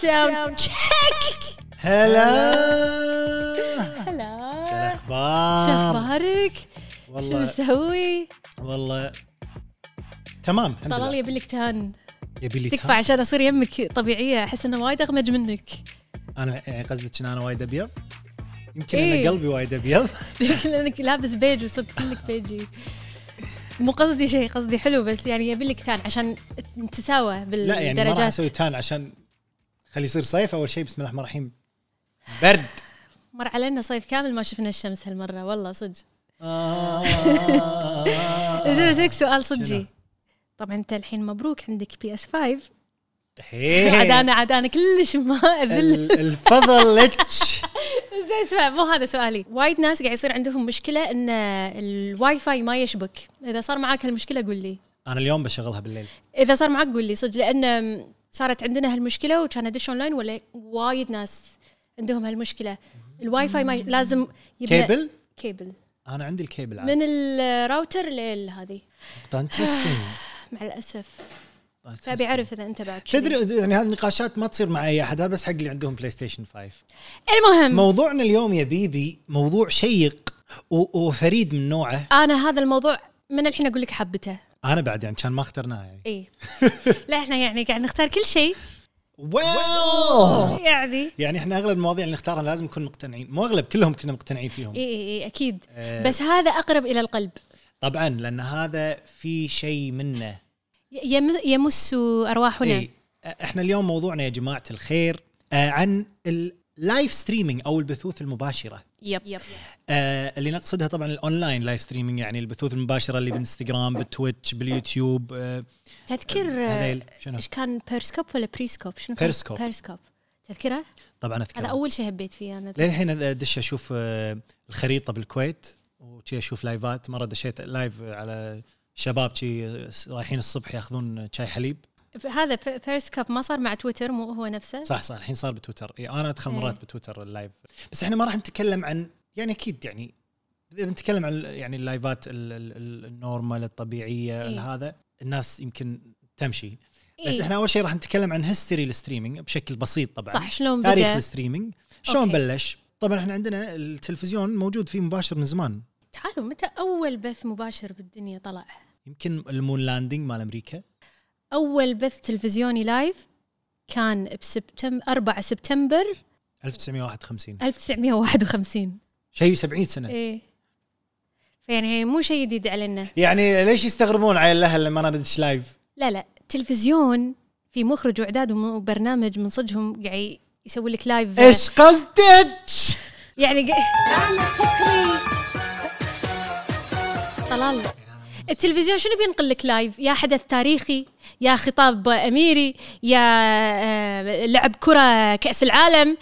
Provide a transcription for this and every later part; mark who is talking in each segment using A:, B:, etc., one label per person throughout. A: ساوند تشيك
B: هلا
A: هلا
B: شو
A: شو
B: الاخبار
A: اخبارك؟ شو
B: آه. والله
A: مسوي؟
B: والله تمام الحمد
A: طلال
B: لله
A: يبي لك تهان
B: يبي لي
A: تكفى عشان اصير يمك طبيعيه احس انه وايد اغمج منك
B: تايم. انا يعني قصدك ان انا وايد ابيض يمكن
A: إيه.
B: انا قلبي وايد ابيض
A: لانك لابس بيج وصدق كلك بيجي مو قصدي شيء قصدي حلو بس يعني يبي لك تان عشان تساوى
B: لا يعني ما راح
A: بالدرجات
B: اسوي تان عشان خلي يصير صيف اول شيء بسم الله الرحمن الرحيم برد
A: مر علينا صيف كامل ما شفنا الشمس هالمره والله صدق زين
B: آه.
A: بسالك سؤال
B: شنو؟
A: صدقي طبعا انت الحين مبروك عندك بي اس 5
B: إيه.
A: عاد انا عاد انا كلش ما اذل
B: ال- الفضل لك
A: زين اسمع مو هذا سؤالي وايد ناس قاعد يصير عندهم مشكله ان الواي فاي ما يشبك اذا صار معاك هالمشكله قول لي
B: انا اليوم بشغلها بالليل
A: اذا صار معاك قول لي صدق لان صارت عندنا هالمشكله وكان ادش اونلاين ولا وايد ناس عندهم هالمشكله الواي فاي ما ي- لازم يبنى-
B: كيبل آه.
A: كيبل
B: انا عندي الكيبل عاد
A: من الراوتر لهذه
B: انترستنج
A: مع الاسف فابي اعرف اذا انت بعد شذي.
B: تدري يعني هذه النقاشات ما تصير مع اي احد هذا بس حق اللي عندهم بلاي ستيشن 5
A: المهم
B: موضوعنا اليوم يا بيبي موضوع شيق و- وفريد من نوعه
A: انا هذا الموضوع من الحين اقول لك حبته
B: انا بعد يعني كان ما اخترناه يعني
A: اي لا احنا يعني قاعد نختار كل شيء
B: واو
A: يعني
B: يعني احنا اغلب المواضيع اللي نختارها لازم نكون مقتنعين مو اغلب كلهم كنا مقتنعين فيهم
A: اي اي اي اكيد
B: آه.
A: إيه، بس هذا اقرب الى القلب
B: طبعا لان هذا في شيء منه
A: ي- يم- يمس ارواحنا
B: إيه. احنا اليوم موضوعنا يا جماعه الخير آه، عن اللايف ستريمينج او البثوث المباشره
A: يب يب
B: آه اللي نقصدها طبعا الاونلاين لايف ستريمينج يعني البثوث المباشره اللي بالانستغرام بالتويتش باليوتيوب آه
A: تذكر آه،
B: هذيل شنو
A: ايش كان بيرسكوب ولا بريسكوب شنو كان؟
B: بيرسكوب.
A: بيرسكوب تذكره
B: طبعا
A: هذا
B: اذكر
A: اول شيء هبيت فيه انا
B: للحين ادش اشوف آه، الخريطه بالكويت وشي اشوف لايفات مره دشيت لايف على شباب شي رايحين الصبح ياخذون شاي حليب
A: هذا بي- بيرسكوب ما صار مع تويتر مو هو نفسه
B: صح صح الحين صار بتويتر إيه انا ادخل
A: إيه.
B: مرات بتويتر اللايف بس احنا ما راح نتكلم عن يعني اكيد يعني اذا بنتكلم عن يعني اللايفات ال- ال- ال- النورمال الطبيعيه
A: إيه.
B: هذا الناس يمكن تمشي بس
A: إيه.
B: احنا اول شيء راح نتكلم عن هيستوري الستريمينج بشكل بسيط طبعا
A: صح شلون
B: تاريخ
A: بدا
B: الستريمينج شلون
A: أوكي.
B: بلش طبعا احنا عندنا التلفزيون موجود فيه مباشر من زمان
A: تعالوا متى اول بث مباشر بالدنيا طلع
B: يمكن المون لاندنج مال امريكا
A: اول بث تلفزيوني لايف كان بسبتمبر 4 سبتمبر
B: 1951
A: 1951
B: شيء 70 سنه
A: ايه فيعني مو شيء جديد علينا
B: يعني ليش يستغربون على الاهل لما انا بدش لايف
A: لا لا تلفزيون في مخرج واعداد وبرنامج من صدقهم قاعد يسوي لك لايف
B: ايش قصدك
A: يعني قا- طلال التلفزيون شنو بينقل لك لايف يا حدث تاريخي يا خطاب اميري يا آه، لعب كره كاس العالم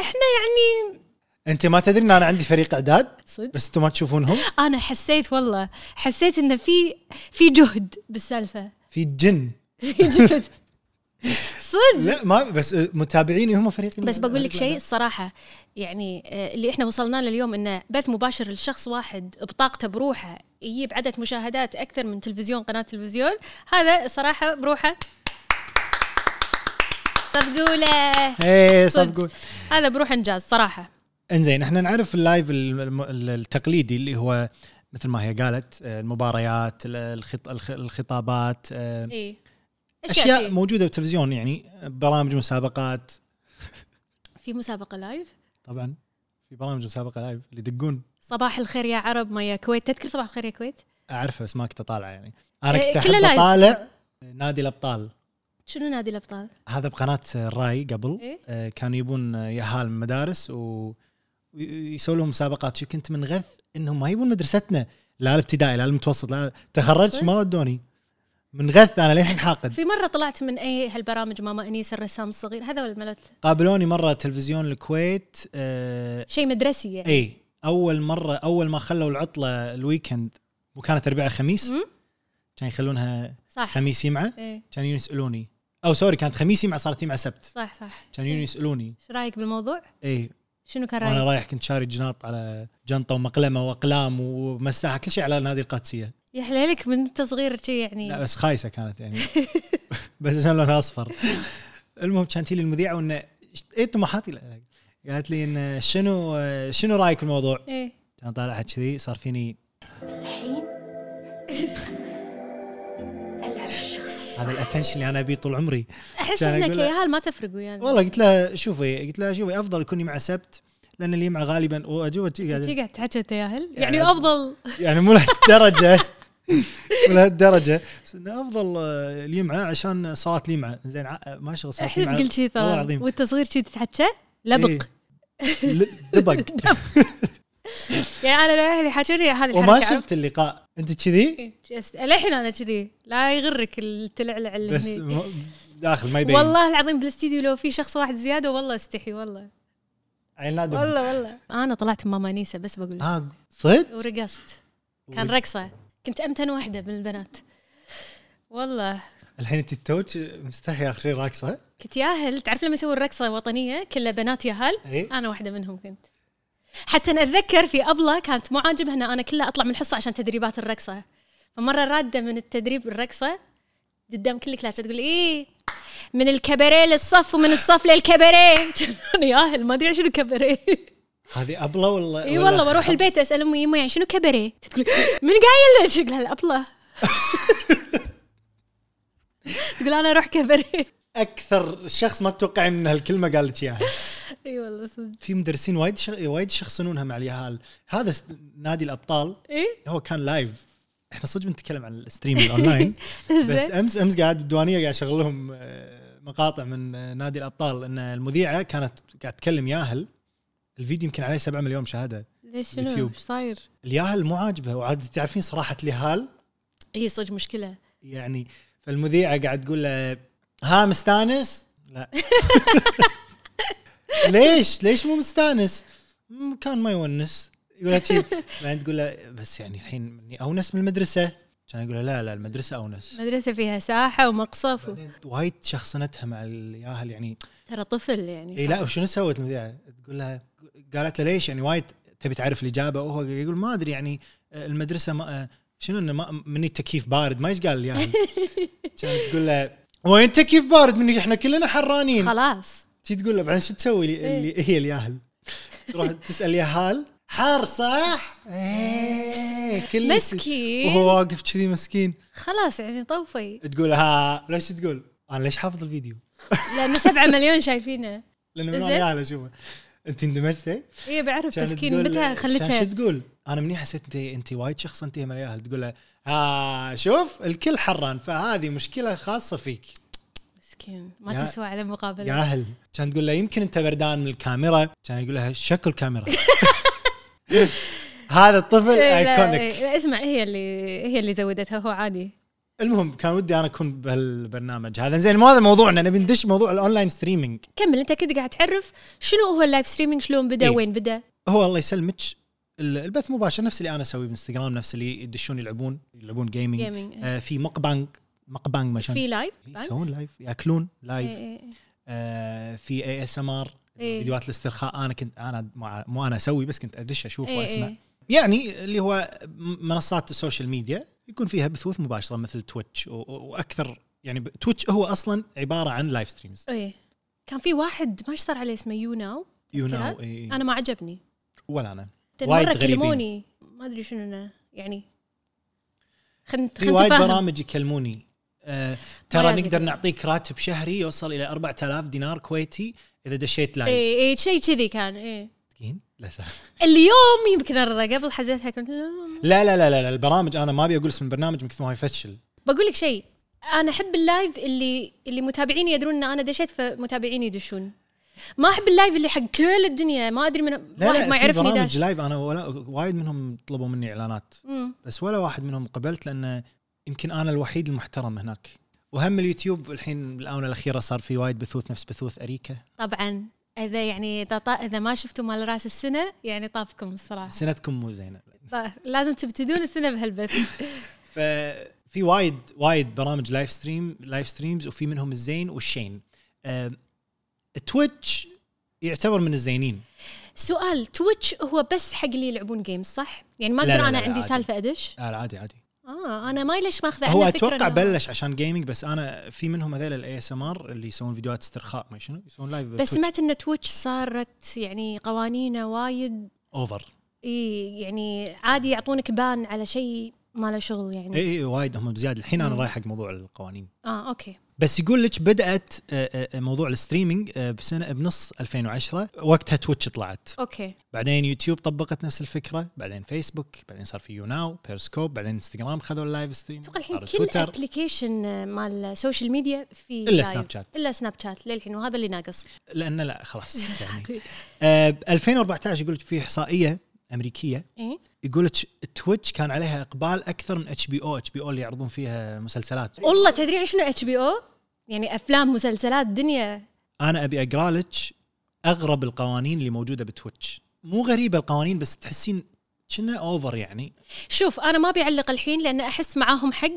A: احنا يعني
B: انت ما تدري ان انا عندي فريق اعداد
A: صدق
B: بس انتم ما تشوفونهم
A: انا حسيت والله حسيت انه في في جهد بالسالفه
B: في جن
A: في جهد صدق
B: لا ما بس آه، متابعيني هم فريق
A: بس بقول لك شيء
B: الأعداد.
A: الصراحه يعني آه، اللي احنا وصلنا له اليوم انه بث مباشر لشخص واحد بطاقته بروحه يجيب عدد مشاهدات اكثر من تلفزيون قناه تلفزيون هذا الصراحه بروحه صفقوا له
B: ايه
A: صدق.
B: صدق
A: هذا بروح انجاز صراحه
B: انزين احنا نعرف اللايف الم- ال- التقليدي اللي هو مثل ما هي قالت آه، المباريات ال- الخط- الخ- الخطابات آه،
A: اي
B: اشياء موجوده بالتلفزيون يعني برامج مسابقات
A: في مسابقه لايف
B: طبعا في برامج مسابقه لايف اللي يدقون
A: صباح الخير يا عرب ما يا كويت تذكر صباح الخير يا كويت
B: اعرفها بس ما كنت اطالعه يعني انا
A: إيه،
B: كنت
A: كله
B: احب
A: لايف.
B: اطالع نادي الابطال
A: شنو نادي الابطال
B: هذا بقناه الراي قبل
A: إيه؟
B: آه، كانوا يبون يهال من المدارس و ويسوون لهم مسابقات شو كنت منغث انهم ما يبون مدرستنا لا الابتدائي لا المتوسط لا تخرجت
A: صدق؟
B: ما ودوني منغث انا للحين حاقد
A: في مره طلعت من اي هالبرامج ماما انيس الرسام الصغير هذا ولا مالت
B: قابلوني مره تلفزيون الكويت آه،
A: شيء مدرسي يعني
B: اي اول مره اول ما خلوا العطله الويكند وكانت اربعاء خميس
A: مم.
B: كان يخلونها
A: صح
B: خميس يمعه
A: ايه
B: كانوا يسالوني او سوري كانت خميسي مع صارت مع سبت
A: صح صح
B: كانوا يجون يسالوني
A: ايش رايك بالموضوع؟
B: اي
A: شنو كان
B: وانا
A: رايك؟
B: رايح كنت شاري جناط على جنطه ومقلمه واقلام ومساحه كل شيء على نادي القادسيه
A: يا حليلك من انت صغير شي يعني
B: لا بس خايسه كانت يعني بس عشان لونها اصفر المهم كانت لي المذيعه وانه اي إيه طموحاتي لا- قالت لي انه شنو شنو رايك بالموضوع؟
A: ايه
B: كان طالعت كذي صار فيني
C: الحين العب الشخص
B: هذا الاتنشن اللي انا ابيه طول عمري
A: احس
B: كان
A: انك
B: أقول له-
A: يا هال ما تفرق ويانا
B: والله قلت لها شوفي قلت لها شوفي افضل كوني مع سبت لان اللي مع غالبا واجوبه شي قاعد-
A: شي قاعد تحكي تياهل
B: يعني
A: يعني افضل
B: يعني مو لهالدرجه مو لهالدرجه بس انه افضل آه، اليمعه عشان صلاه اليمعه زين ع- ما شغل صلاه
A: احسب
B: اليمعه
A: قلت شي
B: والله
A: ترى
B: العظيم
A: وانت صغير شي تتحكى لبق
B: إيه. ل- دبق
A: يعني انا لو اهلي حاجوني هذه
B: وما
A: الحركه
B: شفت اللقاء انت كذي
A: إيه، جست- للحين انا كذي لا يغرك التلعلع اللي
B: بس
A: هني
B: م- داخل ما يبين
A: إيه، والله العظيم بالاستديو لو في شخص واحد زياده والله استحي والله
B: عين لا دم.
A: والله والله انا طلعت من ماما نيسا بس بقول لك.
B: ها صدق
A: ورقصت كان رقصه كنت امتن واحده من البنات والله
B: الحين انت توج مستحي اخر شيء راقصه
A: كنت ياهل تعرف لما يسوي الرقصه وطنيه كلها بنات ياهل
B: إيه.
A: انا واحده منهم كنت حتى انا اتذكر في ابله كانت مو عاجبها ان انا كلها اطلع من الحصه عشان تدريبات الرقصه فمره راده من التدريب الرقصه قدام كل كلاس تقول ايه من الكباريه للصف ومن الصف للكباريه انا ياهل ما ادري شنو كباريه
B: هذه ابله ولا
A: اي
B: ولا
A: والله واروح
B: خ-
A: البيت اسال امي امي يعني شنو كبري؟ تقول من قايل لك؟ اقول لها الابله تقول انا اروح كبري
B: اكثر شخص ما تتوقع ان هالكلمه قال لك اياها
A: اي والله صدق
B: في مدرسين وايد شغ... وايد يشخصنونها مع اليهال هذا س- نادي الابطال
A: ايه
B: هو كان لايف احنا صدق بنتكلم عن الستريم الاونلاين بس امس امس قاعد بالديوانيه قاعد اشغل لهم آه، مقاطع من آه، نادي الابطال ان المذيعه كانت قاعد تكلم ياهل الفيديو يمكن عليه 7 مليون مشاهده
A: ليش شنو؟
B: يوتيوب.
A: ايش صاير؟
B: الياهل مو عاجبه وعاد تعرفين صراحه اليهال
A: اي إيه، صدق مشكله
B: يعني فالمذيعه قاعد تقول له ها مستانس؟ لا ليش؟ ليش مو مستانس؟ "مم، كان ما يونس يقول لها شي. بعدين تقول له بس يعني الحين مني اونس من المدرسه كان يقول له لا لا المدرسه اونس
A: مدرسه فيها ساحه ومقصف و-
B: بعدين وايد شخصنتها مع الياهل يعني
A: ترى طفل يعني
B: اي إيه، لا وشنو سوت المذيعه؟ تقول لها قالت له ليش يعني وايد تبي تعرف الاجابه وهو يقول ما ادري يعني آه، المدرسه ما آه، شنو انه ما- مني تكييف بارد ما ايش قال يعني كانت تقول له وين تكييف بارد مني احنا كلنا حرانين
A: خلاص إيه.
B: شي تقول له بعدين شو تسوي لي- اللي هي الياهل تروح تسال ياهال حار صح؟ ايه كل
A: مسكين
B: وهو واقف كذي مسكين
A: خلاص يعني طوفي
B: تقول ها ليش تقول؟ انا ليش حافظ الفيديو؟
A: لانه سبعة مليون شايفينه
B: لانه من
A: زين.
B: وأنا ياهل اشوفه انت اندمجتي؟
A: اي بعرف
B: كانت
A: مسكين
B: تقول-
A: متى
B: كان
A: خلتها
B: شو تقول؟ انا مني حسيت انت انت وايد شخص انت من الاهل تقول له آه شوف الكل حران فهذه مشكله خاصه فيك
A: مسكين ما
B: يا-
A: تسوى على
B: يا
A: مقابله
B: اهل كان تقول له يمكن انت بردان من الكاميرا كان يقول لها شكل كاميرا هذا الطفل
A: إيه، لا،
B: ايكونيك
A: إيه، لا اسمع هي اللي هي اللي زودتها هو عادي
B: المهم كان ودي انا اكون بهالبرنامج هذا زين مو هذا موضوعنا نبي ندش موضوع الاونلاين ستريمينج
A: كمل انت كنت قاعد تعرف شنو هو اللايف ستريمينج شلون بدا
B: إيه.
A: إيه؟ وين بدا
B: هو الله يسلمك ال- البث مباشر نفس اللي انا اسويه بالانستغرام نفس اللي يدشون يلعبون يلعبون جيمنج
A: جيمنج إيه.
B: آه في مقبانج مقبانج ما شلون
A: في لايف بانكس؟
B: يسوون لايف ياكلون
A: إيه،
B: لايف
A: إيه، إيه.
B: آه في اي اس ام ار
A: إيه.
B: فيديوهات الاسترخاء انا كنت انا مع- مو انا اسوي بس كنت ادش اشوف
A: إيه،
B: واسمع
A: إيه.
B: يعني اللي هو م- منصات السوشيال ميديا يكون فيها بثوث مباشره مثل تويتش و- و- واكثر يعني ب- تويتش هو اصلا عباره عن لايف ستريمز
A: ايه كان في واحد ما ايش صار عليه اسمه يو ناو
B: يو
A: تذكرها؟
B: ناو إيه.
A: انا ما عجبني
B: ولا انا وايد
A: مره
B: غريبين.
A: كلموني ما ادري شنو أنا يعني خلنا
B: في
A: خلنا
B: وايد
A: نتفاهم
B: برامج يكلموني آه ترى
A: لازم كذا.
B: نقدر نعطيك راتب شهري يوصل الى 4000 دينار كويتي اذا دشيت لايف
A: اي اي شيء إيه، كذي كان اي
B: تقين؟ لا سهل
A: اليوم يمكن ارضى قبل حزتها كنت لا.
B: لا لا لا لا لا، البرامج انا ما ابي اقول اسم البرنامج ممكن ما يفشل
A: بقول لك شيء انا احب اللايف اللي اللي متابعيني يدرون ان انا دشيت فمتابعيني يدشون ما احب اللايف اللي حق كل الدنيا ما ادري من
B: لا
A: واحد
B: لا
A: ما
B: في
A: يعرفني
B: برامج
A: داش
B: لايف انا ولا وايد منهم طلبوا مني اعلانات
A: مم.
B: بس ولا واحد منهم قبلت لان يمكن انا الوحيد المحترم هناك وهم اليوتيوب الحين بالاونه الاخيره صار في وايد بثوث نفس بثوث اريكا
A: طبعا اذا يعني إذا طا- اذا ما شفتوا مال راس السنه يعني طافكم الصراحه
B: سنتكم مو زينه
A: طا- لازم تبتدون السنه بهالبث
B: ففي في وايد وايد برامج لايف ستريم لايف ستريمز وفي منهم الزين والشين أه، تويتش يعتبر من الزينين
A: سؤال تويتش هو بس حق اللي يلعبون جيمز صح؟ يعني ما
B: لا،
A: اقدر
B: لا،
A: انا
B: لا،
A: عندي
B: عادي.
A: سالفه ادش؟
B: آه عادي عادي
A: اه انا ما ليش ما اخذ
B: هو
A: عنه فكره
B: اتوقع
A: إنه-
B: بلش عشان جيمنج بس انا في منهم هذول الاي اس ام ار اللي يسوون فيديوهات استرخاء ما شنو يسوون لايف
A: بس سمعت ان تويتش صارت يعني قوانينه وايد
B: اوفر
A: إي يعني عادي يعطونك بان على شيء ما له شغل يعني
B: اي اي إيه، وايد هم بزياده الحين انا
A: مم.
B: رايح حق موضوع القوانين
A: اه اوكي
B: بس يقول لك بدات آه، آه، موضوع الستريمينج آه، بسنه بنص 2010 وقتها تويتش طلعت
A: اوكي
B: بعدين يوتيوب طبقت نفس الفكره بعدين فيسبوك بعدين صار في يوناو بيرسكوب بعدين انستغرام خذوا اللايف ستريم
A: اتوقع الحين
B: صار
A: كل ابلكيشن مال السوشيال ميديا في
B: الا
A: live.
B: سناب شات
A: الا سناب شات للحين وهذا اللي ناقص
B: لان لا خلاص يعني آه، ب 2014 يقول لك في احصائيه امريكيه
A: إيه؟
B: يقول لك تويتش كان عليها اقبال اكثر من اتش بي او اتش بي او اللي يعرضون فيها مسلسلات
A: والله تدري عشنا اتش بي او يعني افلام مسلسلات دنيا
B: انا ابي اقرا لك اغرب القوانين اللي موجوده بتويتش مو غريبه القوانين بس تحسين كنا اوفر يعني
A: شوف انا ما بيعلق الحين لان احس معاهم حق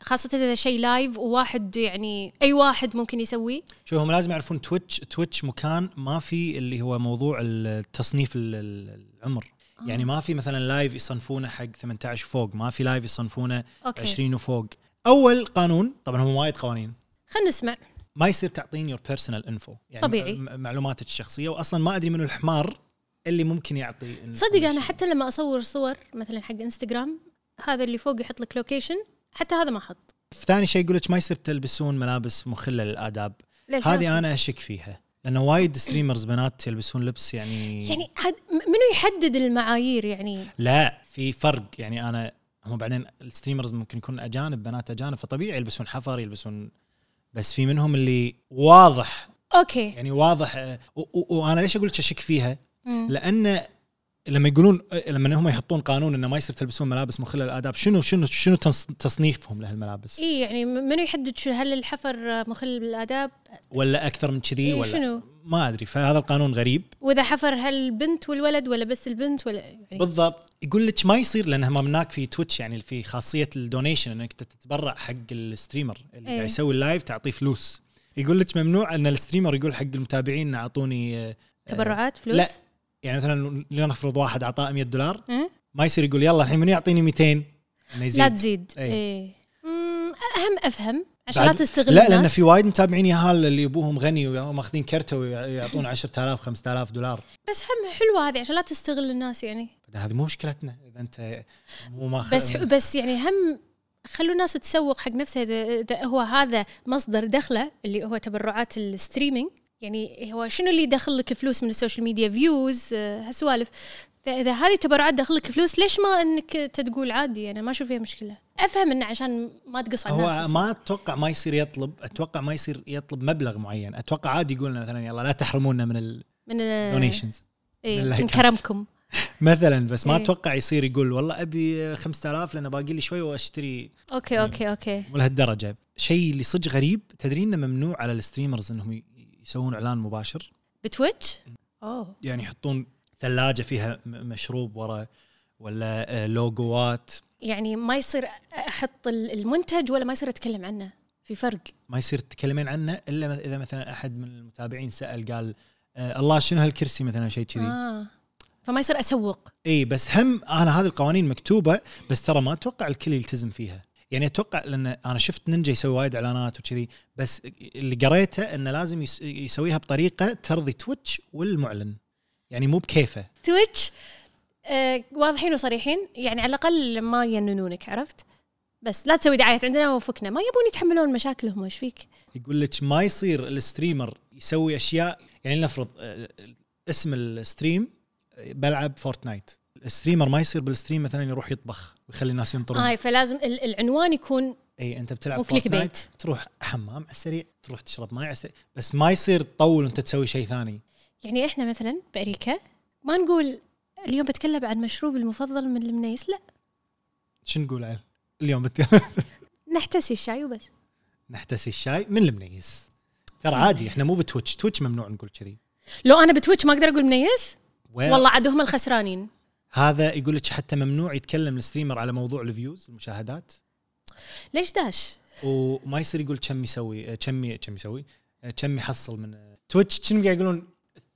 A: خاصة إذا شيء لايف وواحد يعني أي واحد ممكن يسويه
B: شوف هم لازم يعرفون تويتش تويتش مكان ما في اللي هو موضوع التصنيف ال- ال- العمر
A: آه.
B: يعني ما في مثلا لايف يصنفونه حق 18 وفوق ما في لايف يصنفونه
A: أوكي.
B: 20 وفوق اول قانون طبعا هم وايد قوانين
A: خلينا نسمع
B: ما يصير تعطيني يور بيرسونال انفو يعني
A: طبيعي.
B: م- معلوماتك الشخصيه واصلا ما ادري من الحمار اللي ممكن يعطي ال-
A: تصدق أنا حتى لما أصور صور مثلا حق انستغرام هذا اللي فوق يحط لك لوكيشن حتى هذا ما حط
B: ثاني شيء يقول لك ما يصير تلبسون ملابس مخله للاداب
A: للحين
B: هذه انا اشك فيها لانه وايد ستريمرز بنات يلبسون لبس يعني
A: يعني هاد م- منو يحدد المعايير يعني
B: لا في فرق يعني انا هم بعدين الستريمرز ممكن يكون اجانب بنات اجانب فطبيعي يلبسون حفر يلبسون بس في منهم اللي واضح
A: اوكي
B: يعني واضح آه، و- و- وانا ليش اقول لك اشك فيها؟
A: مم.
B: لان لما يقولون لما هم يحطون قانون انه ما يصير تلبسون ملابس مخله للاداب شنو شنو شنو تص- تصنيفهم لهالملابس؟
A: اي يعني م- منو يحدد شو هل الحفر مخل بالاداب
B: ولا اكثر من كذي
A: إيه،
B: ولا
A: شنو؟
B: ما ادري فهذا القانون غريب
A: واذا حفر هل البنت والولد ولا بس البنت ولا يعني
B: بالضبط يقول لك ما يصير لان هم هناك في تويتش يعني في خاصيه الدونيشن انك تتبرع حق الستريمر اللي
A: إيه.
B: قاعد يسوي اللايف تعطيه فلوس يقول لك ممنوع ان الستريمر يقول حق المتابعين إن اعطوني آه،
A: تبرعات فلوس
B: لا. يعني مثلا لنفرض واحد اعطاه 100 دولار
A: أه؟
B: ما يصير يقول يلا الحين من يعطيني 200 انه
A: لا
B: يزيد
A: تزيد إيه.
B: إي.
A: اي اهم افهم عشان لا
B: إيه. بعد-
A: تستغل
B: لا
A: الناس
B: لان في وايد متابعين ياهال اللي ابوهم غني وماخذين كرته ويعطون 10000 5000 دولار
A: بس هم حلوه هذه عشان لا تستغل الناس يعني
B: بعدين هذه مو مشكلتنا اذا انت مو ماخذ
A: بس ح- بس يعني هم خلوا الناس تسوق حق نفسها إذا- اذا هو هذا مصدر دخله اللي هو تبرعات الستريمينج يعني هو شنو اللي دخل لك فلوس من السوشيال ميديا فيوز هالسوالف فاذا هذه التبرعات دخل لك فلوس ليش ما انك أنت تقول عادي انا ما اشوف فيها مشكله افهم انه عشان ما تقص على الناس
B: هو
A: بس.
B: ما اتوقع ما يصير يطلب اتوقع ما يصير يطلب مبلغ معين اتوقع عادي يقول لنا مثلا يلا لا تحرمونا من
A: من ال-
B: الدونيشنز
A: إيه،
B: من
A: من
B: اللايكات.
A: كرمكم
B: مثلا بس ما
A: إيه.
B: اتوقع يصير يقول والله ابي 5000 لان باقي لي شوي واشتري
A: اوكي
B: أيوة.
A: اوكي اوكي
B: مو لهالدرجه شيء اللي صدق غريب تدري انه ممنوع على الستريمرز انهم ي- يسوون اعلان مباشر
A: بتويتش اوه
B: يعني يحطون ثلاجه فيها م- مشروب ورا ولا آه، لوجوات
A: يعني ما يصير احط ال- المنتج ولا ما يصير اتكلم عنه في فرق
B: ما يصير تتكلمين عنه الا اذا مثلا احد من المتابعين سال قال آه الله شنو هالكرسي مثلا شيء كذي
A: آه. فما يصير اسوق
B: اي إيه، بس هم انا هذه القوانين مكتوبه بس ترى ما اتوقع الكل يلتزم فيها يعني اتوقع لان انا شفت نينجا يسوي وايد اعلانات وكذي بس اللي قريته انه لازم يس- يسويها بطريقه ترضي تويتش والمعلن يعني مو بكيفه
A: تويتش آه واضحين وصريحين يعني على الاقل ما يننونك عرفت بس لا تسوي دعايات عندنا وفكنا ما يبون يتحملون مشاكلهم ايش فيك
B: يقول لك ما يصير الستريمر يسوي اشياء يعني لنفرض آه، اسم الستريم آه، بلعب فورتنايت الستريمر ما يصير بالستريم مثلا يروح يطبخ ويخلي الناس ينطرون
A: هاي آه فلازم ال- العنوان يكون
B: اي انت بتلعب
A: مو كليك
B: فورتنايت
A: بيت
B: تروح حمام على السريع تروح تشرب ماي على السريع بس ما يصير تطول وانت تسوي شيء ثاني
A: يعني احنا مثلا بامريكا ما نقول اليوم بتكلم عن مشروبي المفضل من المنيس لا
B: شو نقول عيل اليوم بت...
A: نحتسي الشاي وبس
B: نحتسي الشاي من المنيس ترى عادي احنا مو بتويتش تويتش ممنوع نقول كذي
A: لو انا بتويتش ما اقدر اقول منيس
B: و-
A: والله عاد هم الخسرانين
B: هذا يقول لك حتى ممنوع يتكلم الستريمر على موضوع الفيوز المشاهدات
A: ليش داش؟
B: وما يصير يقول كم يسوي آه، كم ي- كم يسوي آه، كم يحصل من آه، تويتش كانوا قاعد يقولون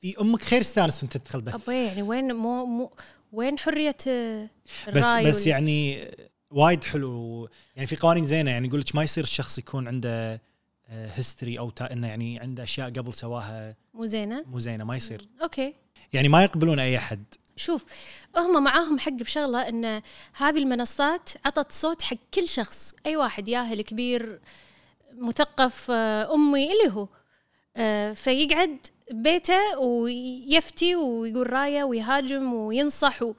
B: في امك خير استانس وانت تدخل بث
A: ابوي يعني وين مو مو وين حريه آه،
B: بس
A: الراي
B: بس
A: وال-
B: يعني آه، وايد حلو يعني في قوانين زينه يعني يقول لك ما يصير الشخص يكون عنده هيستوري او تا انه يعني عنده اشياء قبل سواها
A: مو زينه
B: مو زينه ما يصير
A: اوكي
B: يعني ما يقبلون اي احد
A: شوف هم معاهم حق بشغله ان هذه المنصات عطت صوت حق كل شخص اي واحد ياهل كبير مثقف آه، امي اللي هو آه، فيقعد بيته ويفتي ويقول رايه ويهاجم وينصح و...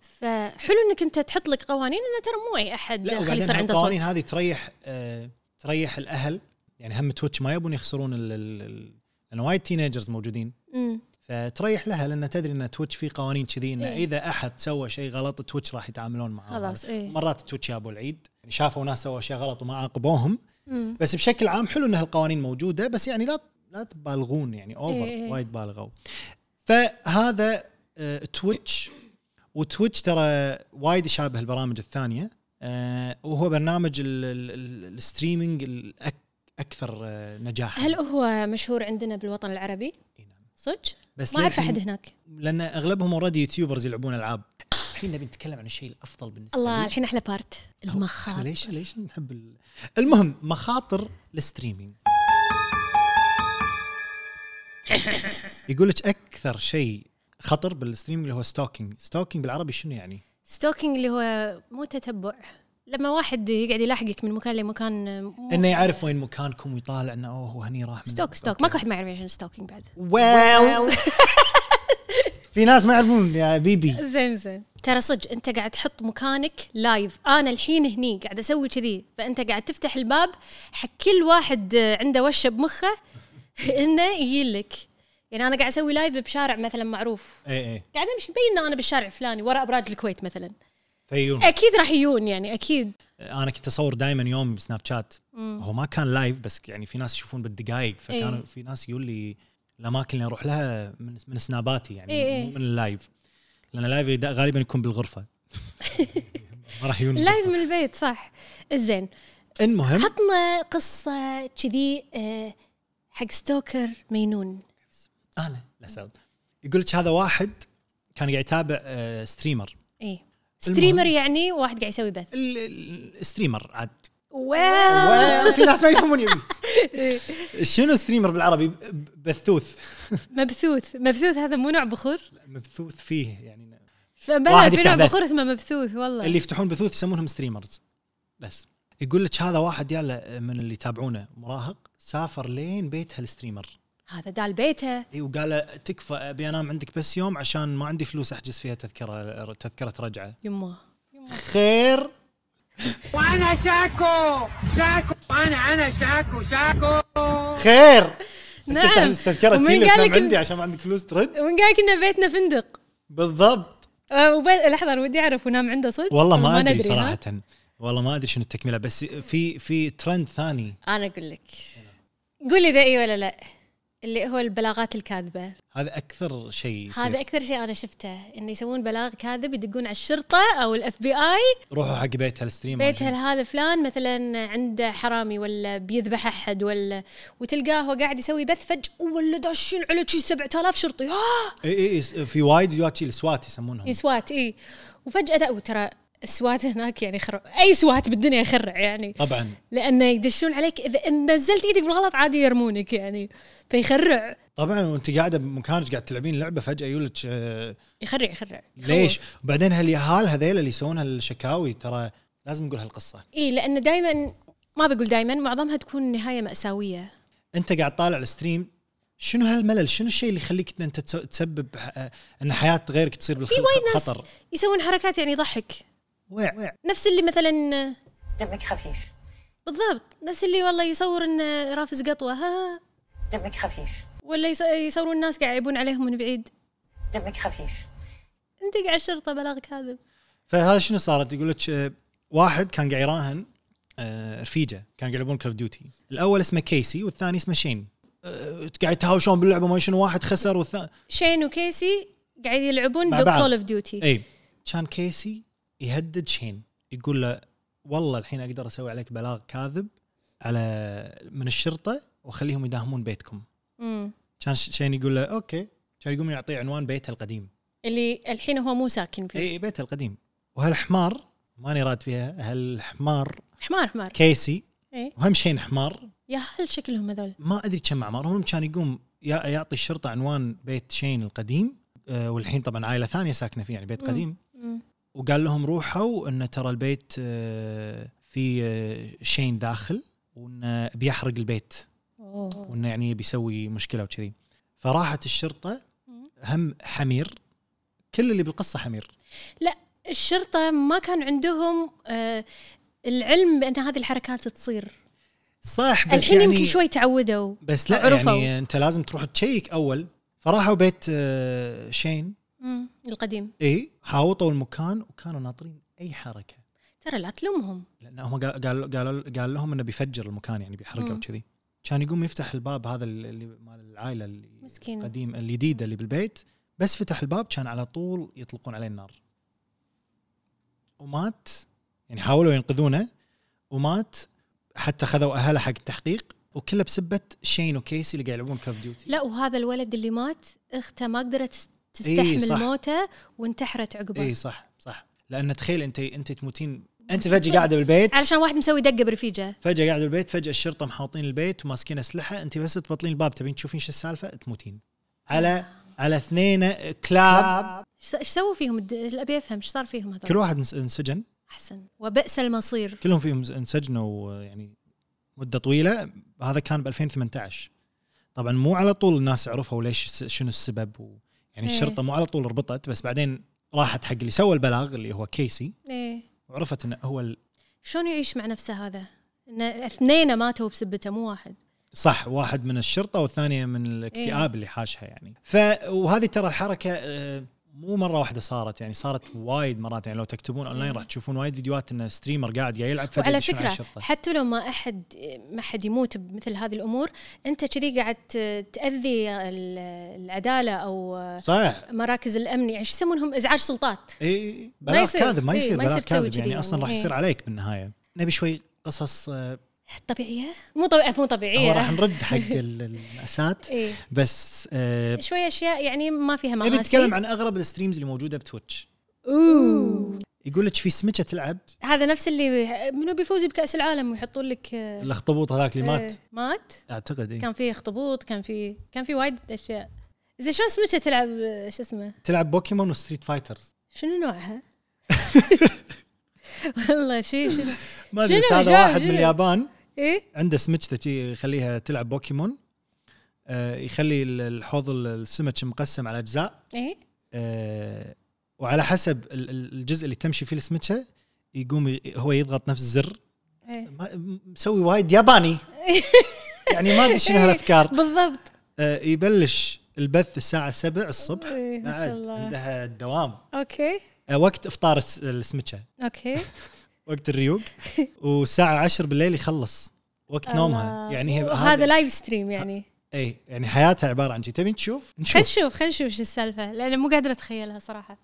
A: فحلو انك انت تحط لك قوانين انه ترى مو اي احد
B: لا
A: خلي
B: وبعدين
A: يصير عنده
B: القوانين
A: صوت
B: هذه تريح آه، تريح الاهل يعني هم تويتش ما يبون يخسرون ال- ال- ال- لان وايد تينيجرز موجودين
A: مم.
B: فتريح لها لان تدري ان تويتش في قوانين كذي انه
A: إيه.
B: اذا احد سوى شيء غلط تويتش راح يتعاملون معاه
A: خلاص ايه
B: مرات تويتش يا ابو العيد يعني شافوا ناس سووا شيء غلط وما عاقبوهم
A: مم.
B: بس بشكل عام حلو ان هالقوانين موجوده بس يعني لا لا تبالغون يعني اوفر
A: إيه إيه.
B: وايد بالغوا فهذا آه، تويتش وتويتش ترى وايد يشابه البرامج الثانيه آه، وهو برنامج ال- ال- ال- الستريمينج الأك- اكثر آه، نجاحا
A: هل هو مشهور عندنا بالوطن العربي؟
B: إي نعم.
A: صدق؟
B: بس
A: ما اعرف
B: للحين-
A: احد هناك
B: لان اغلبهم اوريدي يوتيوبرز يلعبون العاب الحين نبي نتكلم عن الشيء الافضل بالنسبه
A: الله
B: لي
A: الحين احلى بارت
B: إحنا
A: المخاط
B: ليش ليش نحب ال... المهم مخاطر الستريمينج يقول لك اكثر شيء خطر بالستريمينج اللي هو ستوكينج ستوكينج بالعربي شنو يعني
A: ستوكينج اللي هو مو تتبع لما واحد يقعد يلاحقك من مكان لمكان مو-
B: انه يعرف وين مكانكم ويطالع انه اوه هو هني راح من
A: ستوك ستوك ماكو احد ما يعرف ايش ستوكينج بعد
B: ويل في ناس ما يعرفون يا بيبي
A: زين زين ترى صدق انت قاعد تحط مكانك لايف انا الحين هني قاعد اسوي كذي فانت قاعد تفتح الباب حق كل واحد آه، عنده وشه بمخه انه يجي لك يعني انا قاعد اسوي لايف بشارع مثلا معروف
B: اي اي
A: قاعد امشي مبين ان انا بالشارع الفلاني ورا ابراج الكويت مثلا
B: فيون
A: اكيد راح يجون يعني اكيد
B: انا آه، كنت اصور دائما يوم بسناب شات هو ما كان لايف بس يعني في ناس يشوفون بالدقائق فكانوا
A: إيه.
B: في ناس يقول لي الاماكن اللي اروح لها من من سناباتي يعني
A: إيه.
B: مو من اللايف لان اللايف يدا- غالبا يكون بالغرفه ما راح يجون
A: لايف من البيت صح زين
B: المهم
A: عطنا قصة كذي آه، حق ستوكر مينون
B: انا آه، لا سعود يقول لك هذا واحد كان قاعد يتابع آه، ستريمر
A: اي إيه. ستريمر يعني واحد قاعد يسوي بث
B: ال- ال- الستريمر عاد
A: واو
B: في ناس ما يفهمون يبي شنو ستريمر بالعربي ب- بثوث
A: مبثوث مبثوث هذا مو نوع بخور
B: مبثوث فيه يعني
A: فبلا
B: واحد
A: في
B: يفتح
A: نوع
B: بث.
A: بخور اسمه مبثوث والله
B: اللي يفتحون بثوث يسمونهم ستريمرز بس يقول لك هذا واحد يلا آه، من اللي يتابعونه مراهق سافر لين بيت هالستريمر
A: هذا دال بيته
B: إي، وقال له تكفى ابي انام عندك بس يوم عشان ما عندي فلوس احجز فيها تذكره تذكره رجعه
A: يمه
B: خير
D: وانا شاكو شاكو انا انا شاكو شاكو
B: خير أنت
A: نعم.
B: تحجز تذكره
A: ومن
B: تيلي
A: قال
B: تنام
A: لك إن-
B: عندي عشان ما عندك فلوس ترد
A: وين قال كنا بيتنا فندق
B: بالضبط
A: آه، وب- لحظة أنا ودي أعرف ونام عنده صدق
B: والله ما ادري
A: ها؟
B: صراحه والله ما ادري شنو التكمله بس في في ترند ثاني
A: أنا أقول لك قولي إذا إي ولا لا اللي هو البلاغات الكاذبة
B: هذا اكثر شيء يصير.
A: هذا اكثر شيء انا شفته انه يسوون بلاغ كاذب يدقون على الشرطه او الاف بي اي
B: روحوا حق بيت هالستريمر
A: بيت هل هذا فلان مثلا عنده حرامي ولا بيذبح احد ولا وتلقاه هو قاعد يسوي بث فجاه ولا داشين على شي 7000 شرطي آه
B: اي اي إي، في وايد فيديوهات شي السوات يسمونهم
A: سوات اي وفجاه دا وترى سوات هناك يعني خر... اي سوات بالدنيا يخرع يعني
B: طبعا
A: لانه يدشون عليك اذا إن نزلت ايدك بالغلط عادي يرمونك يعني فيخرع
B: طبعا وانت قاعده بمكانك قاعد تلعبين لعبه فجاه يقولك آه،
A: يخرع يخرع
B: ليش؟ وبعدين هاليهال هذيل اللي يسوون هالشكاوي ترى لازم نقول هالقصه
A: اي لان دائما إيه، ما بقول دائما معظمها تكون نهايه ماساويه
B: انت قاعد طالع الستريم شنو هالملل؟ شنو الشيء اللي يخليك إن انت تسو- تسبب ح- آه، ان حياه غيرك تصير بالخطر
A: ناس
B: خطر
A: يسوون حركات يعني يضحك
B: وع- وع.
A: نفس اللي مثلا
E: دمك خفيف
A: بالضبط نفس اللي والله يصور انه رافز قطوه ها ها.
E: دمك خفيف
A: ولا يس- يصورون الناس قاعد يعيبون عليهم من بعيد
E: دمك خفيف
A: انت قاعد الشرطه بلاغ كاذب
B: فهذا شنو صارت؟ يقول لك آه، واحد كان قاعد يراهن آه، رفيجه كانوا قاعد يلعبون كول اوف ديوتي الاول اسمه كيسي والثاني اسمه شين آه، قاعد يتهاوشون باللعبه ما شنو واحد خسر والثاني
A: شين وكيسي قاعد يلعبون
B: مع
A: ذا
B: بعض. إيه.
A: كول اوف ديوتي
B: اي كان كيسي يهدد شين يقول له والله الحين اقدر اسوي عليك بلاغ كاذب على من الشرطه واخليهم يداهمون بيتكم
A: مم.
B: كان ش- شين يقول له اوكي كان يقوم يعطيه عنوان بيته القديم
A: اللي الحين هو مو ساكن فيه
B: اي بيته القديم وهالحمار ماني راد فيها هالحمار
A: حمار حمار
B: كيسي
A: إيه.
B: وهم شين حمار
A: يا هل شكلهم هذول
B: ما ادري كم اعمارهم كان يقوم يا- يعطي الشرطه عنوان بيت شين القديم آه، والحين طبعا عائله ثانيه ساكنه فيه يعني بيت
A: مم.
B: قديم
A: مم.
B: وقال لهم روحوا انه ترى البيت آه، في آه، شين داخل وانه بيحرق البيت
A: أوه.
B: وانه يعني بيسوي مشكله وكذي فراحت الشرطه
A: مم.
B: هم حمير كل اللي بالقصه حمير
A: الشرطه ما كان عندهم آه العلم بان هذه الحركات تصير
B: صح بس
A: الحين
B: يعني
A: يمكن شوي تعودوا
B: بس لا
A: عرفوا.
B: يعني انت لازم تروح تشيك اول فراحوا بيت آه، شين
A: مم. القديم
B: اي حاوطوا المكان وكانوا ناطرين اي حركه
A: ترى لا تلومهم
B: لان هم قال قال قال, قال لهم انه بيفجر المكان يعني بيحرقه
A: مم.
B: وكذي كان يقوم يفتح الباب هذا اللي مال العائله اللي
A: مسكينة.
B: القديم الجديده اللي بالبيت بس فتح الباب كان على طول يطلقون عليه النار ومات يعني حاولوا ينقذونه ومات حتى خذوا اهله حق التحقيق وكله بسبه شين وكيسي اللي قاعد يلعبون كاف ديوتي
A: لا وهذا الولد اللي مات اخته ما قدرت تس-
B: إيه،
A: تستحمل
B: صح.
A: موته وانتحرت عقبه
B: اي إيه، صح صح لان تخيل انت انت تموتين انت فجاه قاعده بالبيت
A: علشان واحد مسوي دقه برفيجه
B: فجاه قاعد بالبيت فجاه الشرطه محاوطين البيت وماسكين اسلحه انت بس تبطلين الباب تبين تشوفين شو السالفه تموتين على على اثنين كلاب
A: ايش ايش سووا فيهم الد- ابي افهم ايش صار فيهم هذول
B: كل واحد انس- انسجن
A: احسن وبئس المصير
B: كلهم فيهم انسجنوا يعني مده طويله هذا كان ب 2018 طبعا مو على طول الناس عرفوا ليش الس- شنو السبب و يعني
A: إيه.
B: الشرطه مو على طول ربطت بس بعدين راحت حق اللي سوى البلاغ اللي هو كيسي
A: ايه
B: وعرفت انه هو ال-
A: شلون يعيش مع نفسه هذا؟ ان اثنين ماتوا بسبته مو واحد
B: صح واحد من الشرطه والثانيه من
A: إيه.
B: الاكتئاب اللي حاشها يعني ف وهذه ترى الحركه آه، مو مره واحده صارت يعني صارت وايد مرات يعني لو تكتبون اونلاين راح تشوفون وايد فيديوهات ان ستريمر قاعد قاعد يلعب فجاه
A: وعلى
B: يدشون على
A: فكره
B: الشرطه
A: حتى لو ما احد ما حد يموت بمثل هذه الامور انت كذي قاعد ت- تاذي ال- العداله او
B: صح
A: مراكز الامن يعني شو يسمونهم ازعاج سلطات
B: اي بلاغ
A: يصير.
B: كاذب ما
A: إي،
B: يصير
A: ما
B: بلاغ
A: يصير تسوي
B: كاذب
A: كذي
B: يعني
A: يعني.
B: اصلا راح
A: إي.
B: يصير عليك بالنهايه نبي شوي قصص آه،
A: طبيعيه مو طبيعيه مو
B: هو
A: طبيعيه
B: راح نرد حق ال- المأساة
A: إيه.
B: بس آه،
A: شوي اشياء يعني ما فيها
B: نبي
A: مآسي
B: نتكلم عن اغرب الستريمز اللي موجوده بتويتش
A: اوه
B: يقول لك في سمكه تلعب
A: هذا نفس اللي منو بيفوز بكاس العالم ويحطون لك آه،
B: الاخطبوط هذاك اللي مات إيه.
A: آه، مات
B: اعتقد إي.
A: كان في اخطبوط كان في كان في وايد اشياء زين شلون سمكه تلعب آه، شو اسمه
B: تلعب بوكيمون وستريت فايترز
A: شنو نوعها؟ والله شيء شنو
B: ما ادري بس
A: شنو
B: هذا
A: جاب-
B: واحد من
A: شنو؟
B: اليابان
A: ايه
B: عنده سمكته شي يخليها تلعب بوكيمون آه يخلي ال- الحوض ال- السمك مقسم على اجزاء
A: ايه
B: آه وعلى حسب ال- ال- الجزء اللي تمشي فيه السمكه يقوم ي- هو يضغط نفس الزر
A: ايه
B: ما- م- مسوي وايد ياباني يعني ما ادري شنو
A: إيه.
B: هالافكار
A: بالضبط
B: آه يبلش البث الساعه 7 الصبح
A: إيه، ما شاء
B: بعد
A: الله.
B: عندها الدوام
A: اوكي
B: آه وقت افطار الس- السمكه
A: اوكي
B: وقت الريوق والساعه 10 بالليل يخلص وقت نومها
A: الله.
B: يعني هي
A: وهذا لايف ستريم يعني
B: اي يعني حياتها عباره عن شيء تبي تشوف
A: خلينا
B: نشوف
A: نشوف خلينا نشوف شو السالفه لان مو قادره اتخيلها صراحه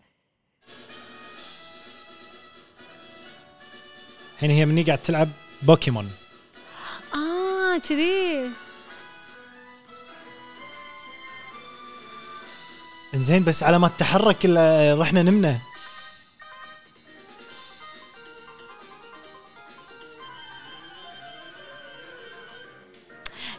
B: الحين هي مني قاعد تلعب بوكيمون
A: اه كذي
B: انزين بس على ما تتحرك ال- رحنا نمنا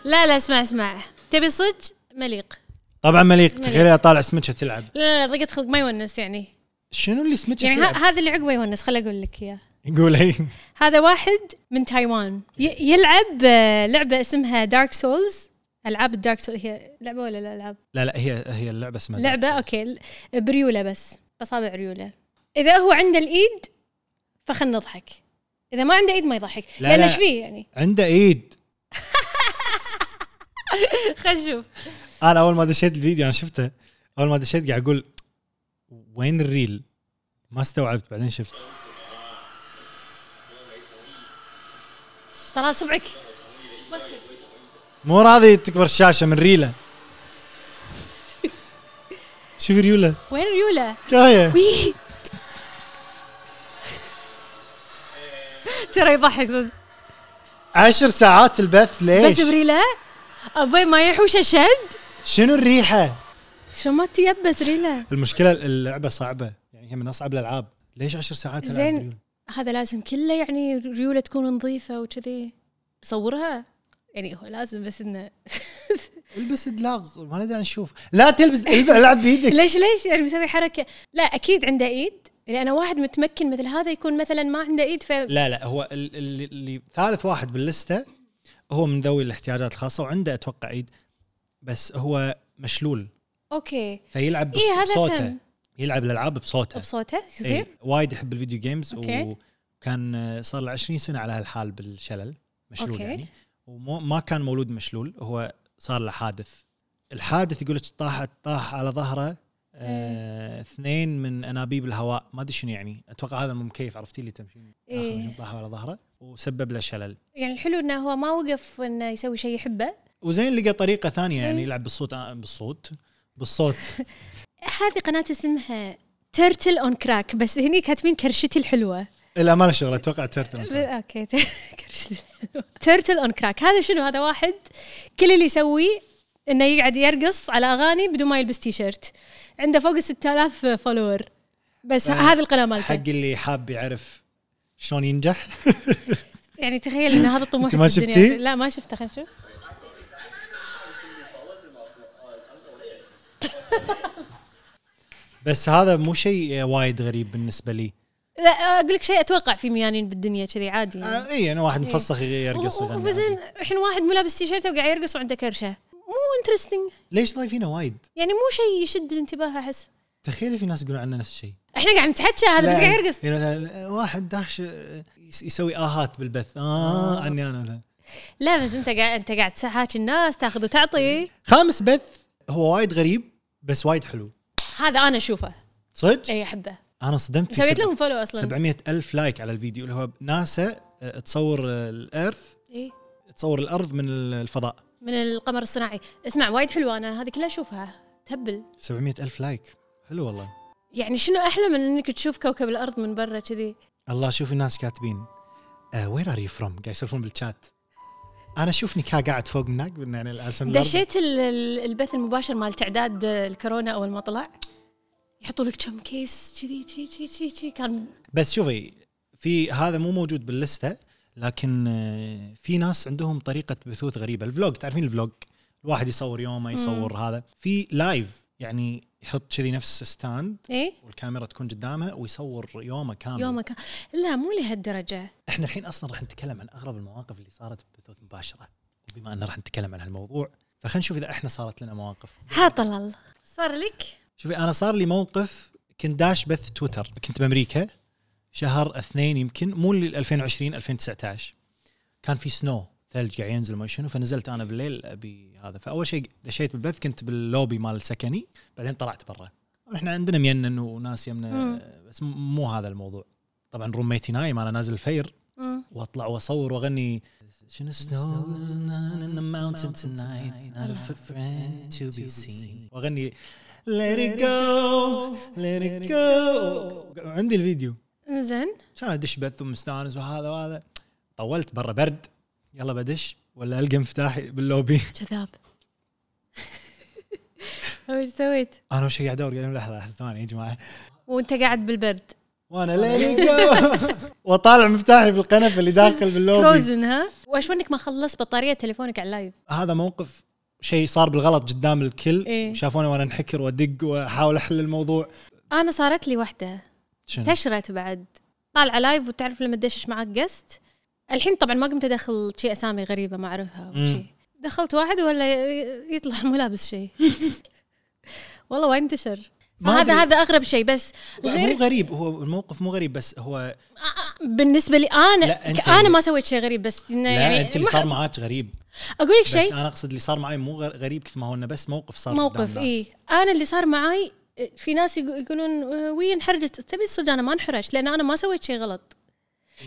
A: لا لا اسمع اسمع تبي صدق مليق
B: طبعا مليك
A: مليك.
B: تخيل طالع سمكه تلعب
A: لا لا لا ضيقة خلق ما يونس يعني
B: شنو اللي سمكه
A: يعني ه-
B: تلعب
A: هذا اللي عقبه يونس خل اقول لك اياه
B: يقول إيه. هي
A: هذا واحد من تايوان ي- يلعب آه، لعبه اسمها دارك سولز العاب الدارك سولز هي لعبه ولا لا العاب
B: لا لا هي هي اللعبه اسمها
A: لعبه
B: Dark Souls.
A: اوكي ال- بريوله بس بصابع ريوله اذا هو عنده الايد فخلنا نضحك اذا ما عنده ايد ما يضحك
B: لا،
A: لان
B: لا.
A: ايش فيه يعني
B: عنده ايد
A: خلينا نشوف
B: انا اول ما دشيت الفيديو انا شفته اول ما دشيت قاعد اقول وين الريل ما استوعبت بعدين شفت
A: طلع صبعك
B: مو راضي تكبر الشاشه من ريله شوف ريوله
A: وين ريوله
B: كايه
A: ترى يضحك صدق
B: عشر ساعات البث
A: بس
B: ليش؟
A: بريله ابوي ما يحوشه شد
B: شنو الريحه؟
A: شو ما تيبس ريله
B: المشكله اللعبه صعبه يعني هي من اصعب الالعاب ليش عشر ساعات ألعب
A: زين.
B: ريول؟
A: هذا لازم كله يعني ريوله تكون نظيفه وكذي صورها يعني هو لازم بس انه
B: البس دلاغ ما ندري نشوف لا تلبس الب- العب بايدك
A: ليش ليش يعني مسوي حركه لا اكيد عنده ايد لان واحد متمكن مثل هذا يكون مثلا ما عنده ايد ف
B: لا لا هو ال- اللي, اللي ثالث واحد باللسته هو من ذوي الاحتياجات الخاصه وعنده اتوقع ايد بس هو مشلول
A: اوكي
B: فيلعب بص-
A: إيه، هذا
B: بصوته
A: فهم.
B: يلعب الالعاب بصوته
A: بصوته
B: إيه،
A: يصير
B: وايد يحب الفيديو جيمز
A: أوكي.
B: وكان آه، صار له 20 سنه على هالحال بالشلل مشلول
A: أوكي.
B: أوكي. يعني وما كان مولود مشلول هو صار له حادث الحادث يقول لك طاح طاح على ظهره
A: إيه.
B: آه اثنين من انابيب الهواء ما ادري شنو يعني اتوقع هذا ممكيف عرفتي اللي تمشين
A: إيه.
B: آخر شي طاح على ظهره وسبب له شلل
A: يعني الحلو انه هو ما وقف انه يسوي شيء يحبه
B: وزين لقى طريقه ثانيه يعني
A: إيه.
B: يلعب بالصوت آه، بالصوت بالصوت
A: هذه قناه اسمها تيرتل اون كراك بس هني كاتبين كرشتي الحلوه
B: الامانه شغله اتوقع ترتل
A: اوكي تيرتل اون كراك هذا شنو هذا واحد كل اللي يسويه انه يقعد يرقص على اغاني بدون ما يلبس تي شيرت عنده فوق ال 6000 فولور بس
B: آه،
A: هذه القناه
B: حق
A: مالته
B: اللي حاب يعرف شلون ينجح
A: يعني تخيل ان هذا طموحك
B: ما
A: في الدنيا.
B: شفتيه؟
A: لا ما شفته خلينا نشوف
B: بس هذا مو شيء وايد غريب بالنسبه لي
A: لا اقول لك شيء اتوقع في ميانين بالدنيا كذي عادي يعني.
B: آه اي انا واحد مفسخ يرقص
A: و- و-
B: ويغني
A: وبعدين
B: عادي.
A: الحين واحد مو لابس تي شيرت وقاعد يرقص وعنده كرشه مو انترستنج
B: ليش ضايفينه وايد
A: يعني مو شيء يشد الانتباه احس
B: تخيلي في ناس يقولون عنا نفس الشيء
A: احنا قاعد نتحكى هذا بس
B: لا،
A: قاعد يرقص
B: يعني مثلا واحد داش آه، يس- يسوي اهات بالبث اه عني انا مثلا
A: لا بس انت قاعد انت قاعد تحاكي الناس تاخذ وتعطي
B: خامس بث هو وايد غريب بس وايد حلو
A: هذا انا اشوفه
B: صدق
A: اي احبه
B: انا صدمت في
A: إيه. سويت
B: سب-
A: لهم فولو اصلا
B: 700 الف لايك على الفيديو اللي هو ناسا آه، تصور آه، الارث
A: إيه؟
B: تصور الارض من الفضاء
A: من القمر الصناعي اسمع وايد حلوه انا هذه كلها اشوفها تهبل
B: 700 الف لايك حلو والله
A: يعني شنو احلى من انك تشوف كوكب الارض من برا كذي
B: الله شوف الناس كاتبين "آه، وير ار يو فروم قاعد يسولفون بالشات انا اشوف نكا قاعد فوق هناك بن- يعني عشان الأرض.
A: دشيت ال- ال- البث المباشر مال تعداد الكورونا اول ما طلع يحطوا لك كم كيس كذي كذي كذي- كذي كذي كان
B: بس شوفي في هذا مو موجود باللسته لكن آه، في ناس عندهم طريقه بثوث غريبه الفلوج تعرفين الفلوج الواحد يصور يومه يصور هذا في لايف يعني يحط كذي نفس ستاند
A: ايه
B: والكاميرا تكون قدامه ويصور يومه كامل
A: يومه كان لا مو لهالدرجه
B: احنا الحين اصلا راح نتكلم عن اغرب المواقف اللي صارت ببثوث مباشره وبما ان راح نتكلم عن هالموضوع فخلينا نشوف اذا احنا صارت لنا مواقف
A: ها طلال صار لك
B: شوفي انا صار لي موقف كنت داش بث تويتر كنت بامريكا شهر اثنين يمكن مو اللي 2020 2019 كان في سنو ثلج قاعد ينزل ما شنو فنزلت انا بالليل ابي هذا فاول شيء دشيت بالبث كنت باللوبي مال سكني بعدين طلعت برا احنا عندنا مينن وناس يمنا
A: مم.
B: بس م- مو هذا الموضوع طبعا روميتي نايم انا نازل الفير
A: مم.
B: واطلع واصور واغني شنو snow in the mountain tonight not a footprint to be seen واغني let it go let it go عندي الفيديو
A: زين
B: كان ادش بث ومستانس وهذا وهذا طولت برا برد يلا بدش ولا القى مفتاحي باللوبي
A: كذاب وش سويت؟
B: انا وش قاعد ادور قاعد لحظه لحظه ثانيه يا جماعه
A: وانت قاعد بالبرد
B: وانا let it go وطالع مفتاحي بالقنفه اللي داخل باللوبي
A: فروزن ها؟ وايش ونك ما خلصت بطاريه تليفونك على اللايف؟
B: هذا موقف شيء صار بالغلط قدام الكل
A: إيه.
B: شافوني وانا انحكر وادق واحاول احل الموضوع
A: انا صارت لي واحده
B: شنو؟
A: انتشرت بعد طالعه لايف وتعرف لما تدشش معك قست الحين طبعا ما قمت ادخل شي اسامي غريبه ما اعرفها وشي
B: مم.
A: دخلت واحد ولا ي- يطلع مو لابس شيء والله وايد انتشر
B: ما
A: هذا
B: أدري.
A: هذا اغرب شيء بس غير
B: مو غريب هو الموقف مو غريب بس هو
A: بالنسبه لي
B: لا،
A: انا
B: أنت-
A: انا ما سويت شيء غريب بس إنه
B: لا
A: يعني
B: يعني انت اللي
A: ما-
B: صار معاك غريب
A: اقول لك
B: بس
A: شيء
B: انا اقصد اللي صار معي مو غ- غريب كثر ما هو انه بس موقف صار
A: موقف إيه. اي انا اللي صار معاي آه، في ناس يقو- يقولون آه، وي انحرجت تبي الصدق انا ما انحرجت لان انا ما سويت شيء غلط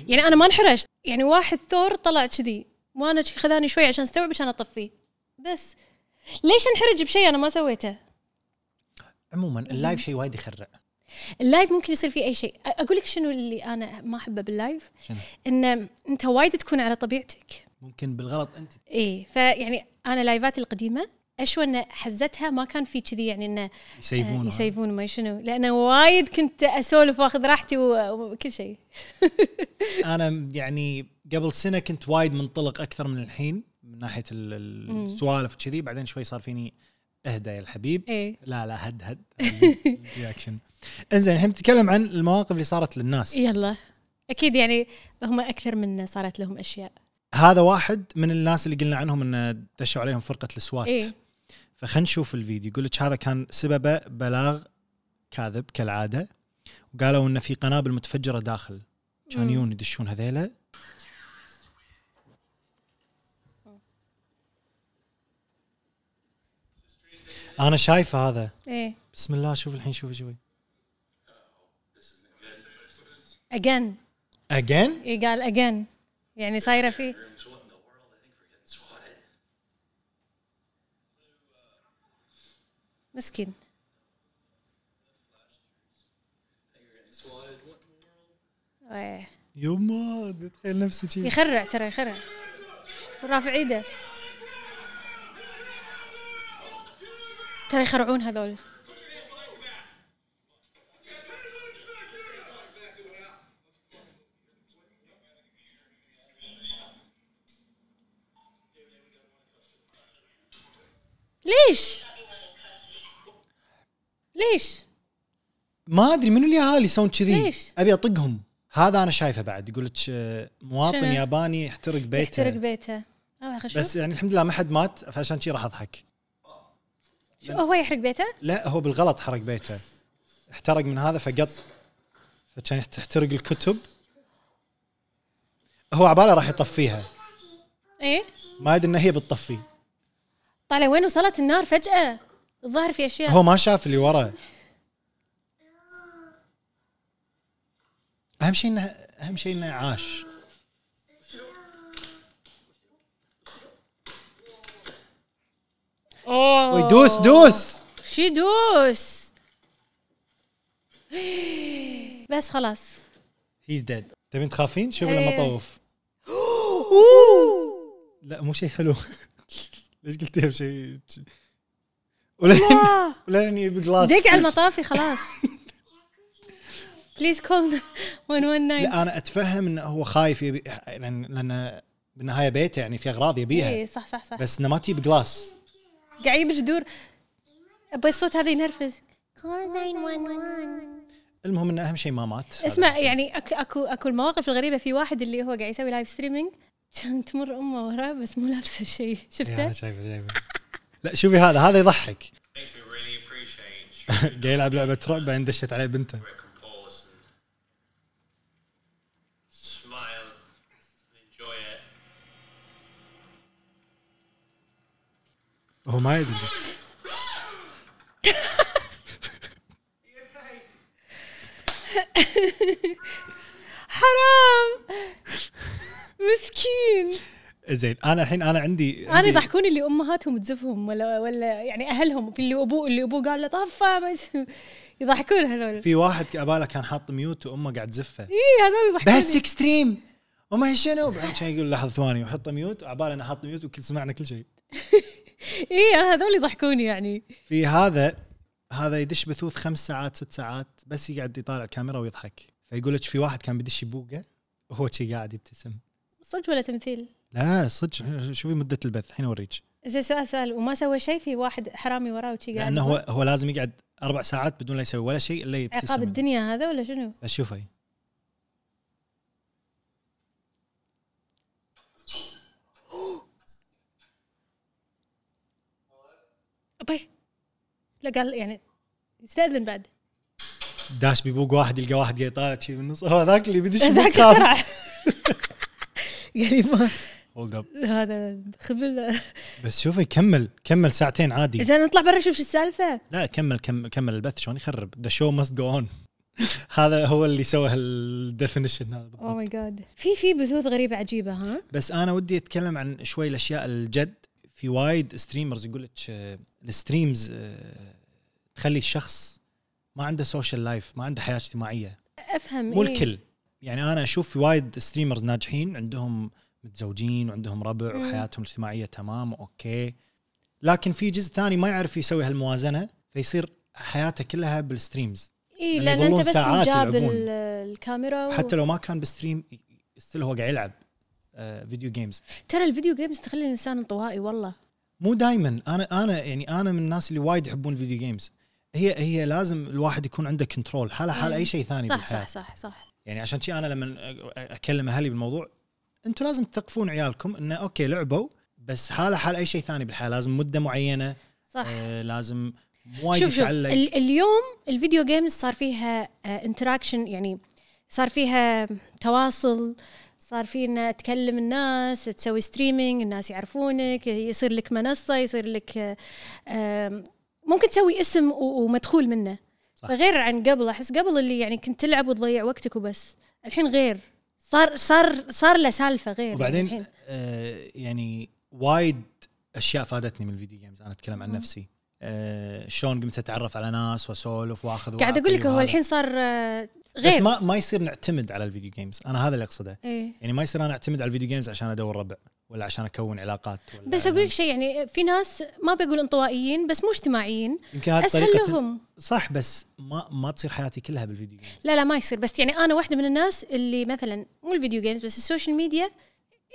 A: يعني انا ما انحرجت يعني واحد ثور طلع كذي وانا شي خذاني شوي عشان استوعب عشان اطفيه بس ليش انحرج بشيء انا ما سويته إيه.
B: عموما اللايف شيء وايد يخرع
A: اللايف ممكن يصير فيه اي شيء أ- اقول لك شنو اللي انا ما احبه باللايف
B: شنو؟
A: ان انت وايد تكون على طبيعتك
B: ممكن بالغلط انت
A: اي فيعني انا لايفاتي القديمه اشوى ان حزتها ما كان في كذي يعني انه
B: يسيفون
A: يسيفون ما شنو لانه وايد كنت اسولف واخذ راحتي و- وكل شيء
B: انا يعني قبل سنه كنت وايد منطلق اكثر من الحين من ناحيه ال- ال-
A: مم.
B: السوالف وكذي بعدين شوي صار فيني اهدى يا الحبيب
A: اي
B: لا لا هد هد رياكشن انزين الحين بنتكلم عن المواقف اللي صارت للناس
A: يلا اكيد يعني هم اكثر منا صارت لهم اشياء
B: هذا واحد من الناس اللي قلنا عنهم انه دشوا عليهم فرقه السوات
A: إيه.
B: فخلينا نشوف الفيديو يقول لك هذا كان سببه بلاغ كاذب كالعاده وقالوا انه في قنابل متفجره داخل كان يون يدشون هذيلا انا شايفه هذا
A: ايه
B: بسم الله شوف الحين شوفي شوفي
A: اجين
B: اجين
A: اي قال اجين يعني صايره في مسكين إيه.
B: يما تخيل نفسك شي.
A: يخرع ترى يخرع رافع ايده ترى يخرعون هذول ليش؟ ليش؟
B: ما ادري منو اليهال اللي يسوون كذي
A: ليش؟
B: ابي اطقهم هذا انا شايفه بعد يقول لك آه، مواطن
A: شنو؟
B: ياباني يحترق بيته
A: يحترق بيته آه، أو خشوف
B: بس يعني الحمد لله ما حد مات فعشان شي راح اضحك
A: شو هو يحرق بيته؟
B: لا هو بالغلط حرق بيته احترق من هذا فقط فكان تحترق الكتب هو عباله راح يطفيها
A: ايه
B: ما يدري ان هي بتطفي
A: طالع وين وصلت النار فجأة الظاهر في أشياء
B: هو ما شاف اللي وراه اهم شيء انه اهم شيء انه عاش
A: أوه.
B: أوي، دوس دوس
A: شي دوس بس خلاص
B: هيز ديد تبين تخافين شوف لما
A: إيه.
B: طوف لا مو شيء حلو ليش قلتيها بشيء ولين
A: آه،
B: ولين يبي جلاس
A: دق على المطافي خلاص بليز كول 119
B: لا انا اتفهم انه هو خايف يبي لان لان بالنهايه بيته يعني في اغراض
A: اي
B: يبيها
A: إيه، صح صح صح
B: بس انه ما تجيب جلاس
A: قاعد يجيب جذور بس الصوت هذا ينرفز
B: المهم انه اهم شيء ما مات
A: اسمع يعني اكو اكو اكو المواقف الغريبه في واحد اللي هو قاعد يسوي لايف ستريمينج كان تمر امه وراه بس مو لابسه شيء شفته؟
B: شايفه شايفه لا شوفي هذا هذا يضحك
F: Makes me really appreciate
B: قاعد يلعب لعبه رعب بعدين دشت عليه بنته
F: Rick and pause and smile and enjoy it.
B: هو ما يدري
A: حرام مسكين
B: زين انا الحين انا عندي
A: انا
B: عندي-
A: يضحكون اللي امهاتهم تزفهم ولا ولا يعني اهلهم في اللي ابوه اللي ابوه قال له طفى ما شو- يضحكون هذول
B: في واحد عباله كان حاط ميوت وامه قاعد تزفه
A: اي هذول يضحكون
B: بس اكستريم وما هي شنو بعدين كان يقول لحظه ثواني وحط ميوت عباله انا حاط ميوت وكل سمعنا كل شيء
A: اي إيه، هذول يضحكوني يعني
B: في هذا هذا يدش بثوث خمس ساعات ست ساعات بس يقعد يطالع الكاميرا ويضحك فيقول لك في واحد كان بيدش يبوقه وهو شي قاعد يبتسم
A: صدق ولا تمثيل؟
B: لا صدق شوفي مده البث الحين اوريك
A: زين سؤال سؤال وما سوى شيء في واحد حرامي وراه وشي قاعد
B: لانه هو هو لازم يقعد اربع ساعات بدون لا يسوي ولا شيء الا يبتسم
A: عقاب الدنيا هذا ولا شنو؟
B: بس شوفي
A: ابي لا قال يعني يستاذن بعد
B: داش بيبوق واحد يلقى واحد قاعد يطالع شي بالنص هو ذاك اللي بيدش
A: ذاك
B: يبوق
A: يسرع قال لي ما
B: Hold up.
A: هذا خبل
B: إيه. بس شوفي كمل كمل ساعتين عادي
A: زين نطلع برا نشوف شو السالفه
B: لا كمل كمل كمل البث شلون يخرب ذا شو ماست جو اون هذا هو اللي سوى هالديفينيشن هذا
A: اوه
B: بالضبط.
A: ماي جاد Oh في في بثوث غريبه عجيبه ها
B: بس انا ودي اتكلم عن شوي الاشياء الجد في وايد ستريمرز يقول لك آه، الستريمز آه، تخلي الشخص ما عنده سوشيال لايف ما عنده حياه اجتماعيه
A: افهم
B: مو
A: إيه.
B: الكل يعني انا اشوف في وايد ستريمرز ناجحين عندهم متزوجين وعندهم ربع
A: مم.
B: وحياتهم الاجتماعيه تمام اوكي لكن في جزء ثاني ما يعرف يسوي هالموازنه فيصير حياته كلها بالستريمز
A: اي
B: لأن
A: لان
B: يظلون
A: انت إيه، بس
B: يعني ساعات
A: جاب
B: يلعبون.
A: ال- الكاميرا و...
B: حتى لو ما كان بالستريم استل هو قاعد يلعب آه، فيديو جيمز
A: ترى الفيديو جيمز تخلي الانسان انطوائي والله
B: مو دائما انا انا يعني انا من الناس اللي وايد يحبون الفيديو جيمز هي هي لازم الواحد يكون عنده كنترول حاله حال اي شيء ثاني
A: صح
B: بالحياة.
A: صح صح صح
B: يعني عشان شي انا لما أ- اكلم اهلي بالموضوع انتم لازم تثقفون عيالكم انه اوكي لعبوا بس حاله حال اي شيء ثاني بالحياه لازم مده معينه
A: صح
B: آه لازم وايد
A: شوف شوف
B: يتعلق
A: ال- اليوم الفيديو جيمز صار فيها انتراكشن يعني صار فيها تواصل صار في ان تكلم الناس تسوي ستريمينج الناس يعرفونك يصير لك منصه يصير لك آه، آم، ممكن تسوي اسم و- ومدخول منه
B: صح.
A: فغير عن قبل احس قبل اللي يعني كنت تلعب وتضيع وقتك وبس الحين غير صار صار صار له سالفه غير يعني
B: وبعدين
A: الحين.
B: آه يعني وايد اشياء فادتني من الفيديو جيمز انا اتكلم عن نفسي آه شلون قمت اتعرف على ناس واسولف واخذ
A: قاعد
B: وأعطي
A: اقول لك هو
B: وهذا.
A: الحين صار آه،
B: بس
A: غير
B: ما ما يصير نعتمد على الفيديو جيمز انا هذا اللي اقصده
A: إيه.
B: يعني ما يصير انا اعتمد على الفيديو جيمز عشان ادور ربع ولا عشان اكون علاقات ولا
A: بس اقول لك شيء يعني في ناس ما بقول انطوائيين بس مو اجتماعيين
B: يمكن هذه
A: اسهل
B: طريقة-
A: لهم
B: صح بس ما ما تصير حياتي كلها بالفيديو جيمز
A: لا لا ما يصير بس يعني انا واحده من الناس اللي مثلا مو الفيديو جيمز بس السوشيال ميديا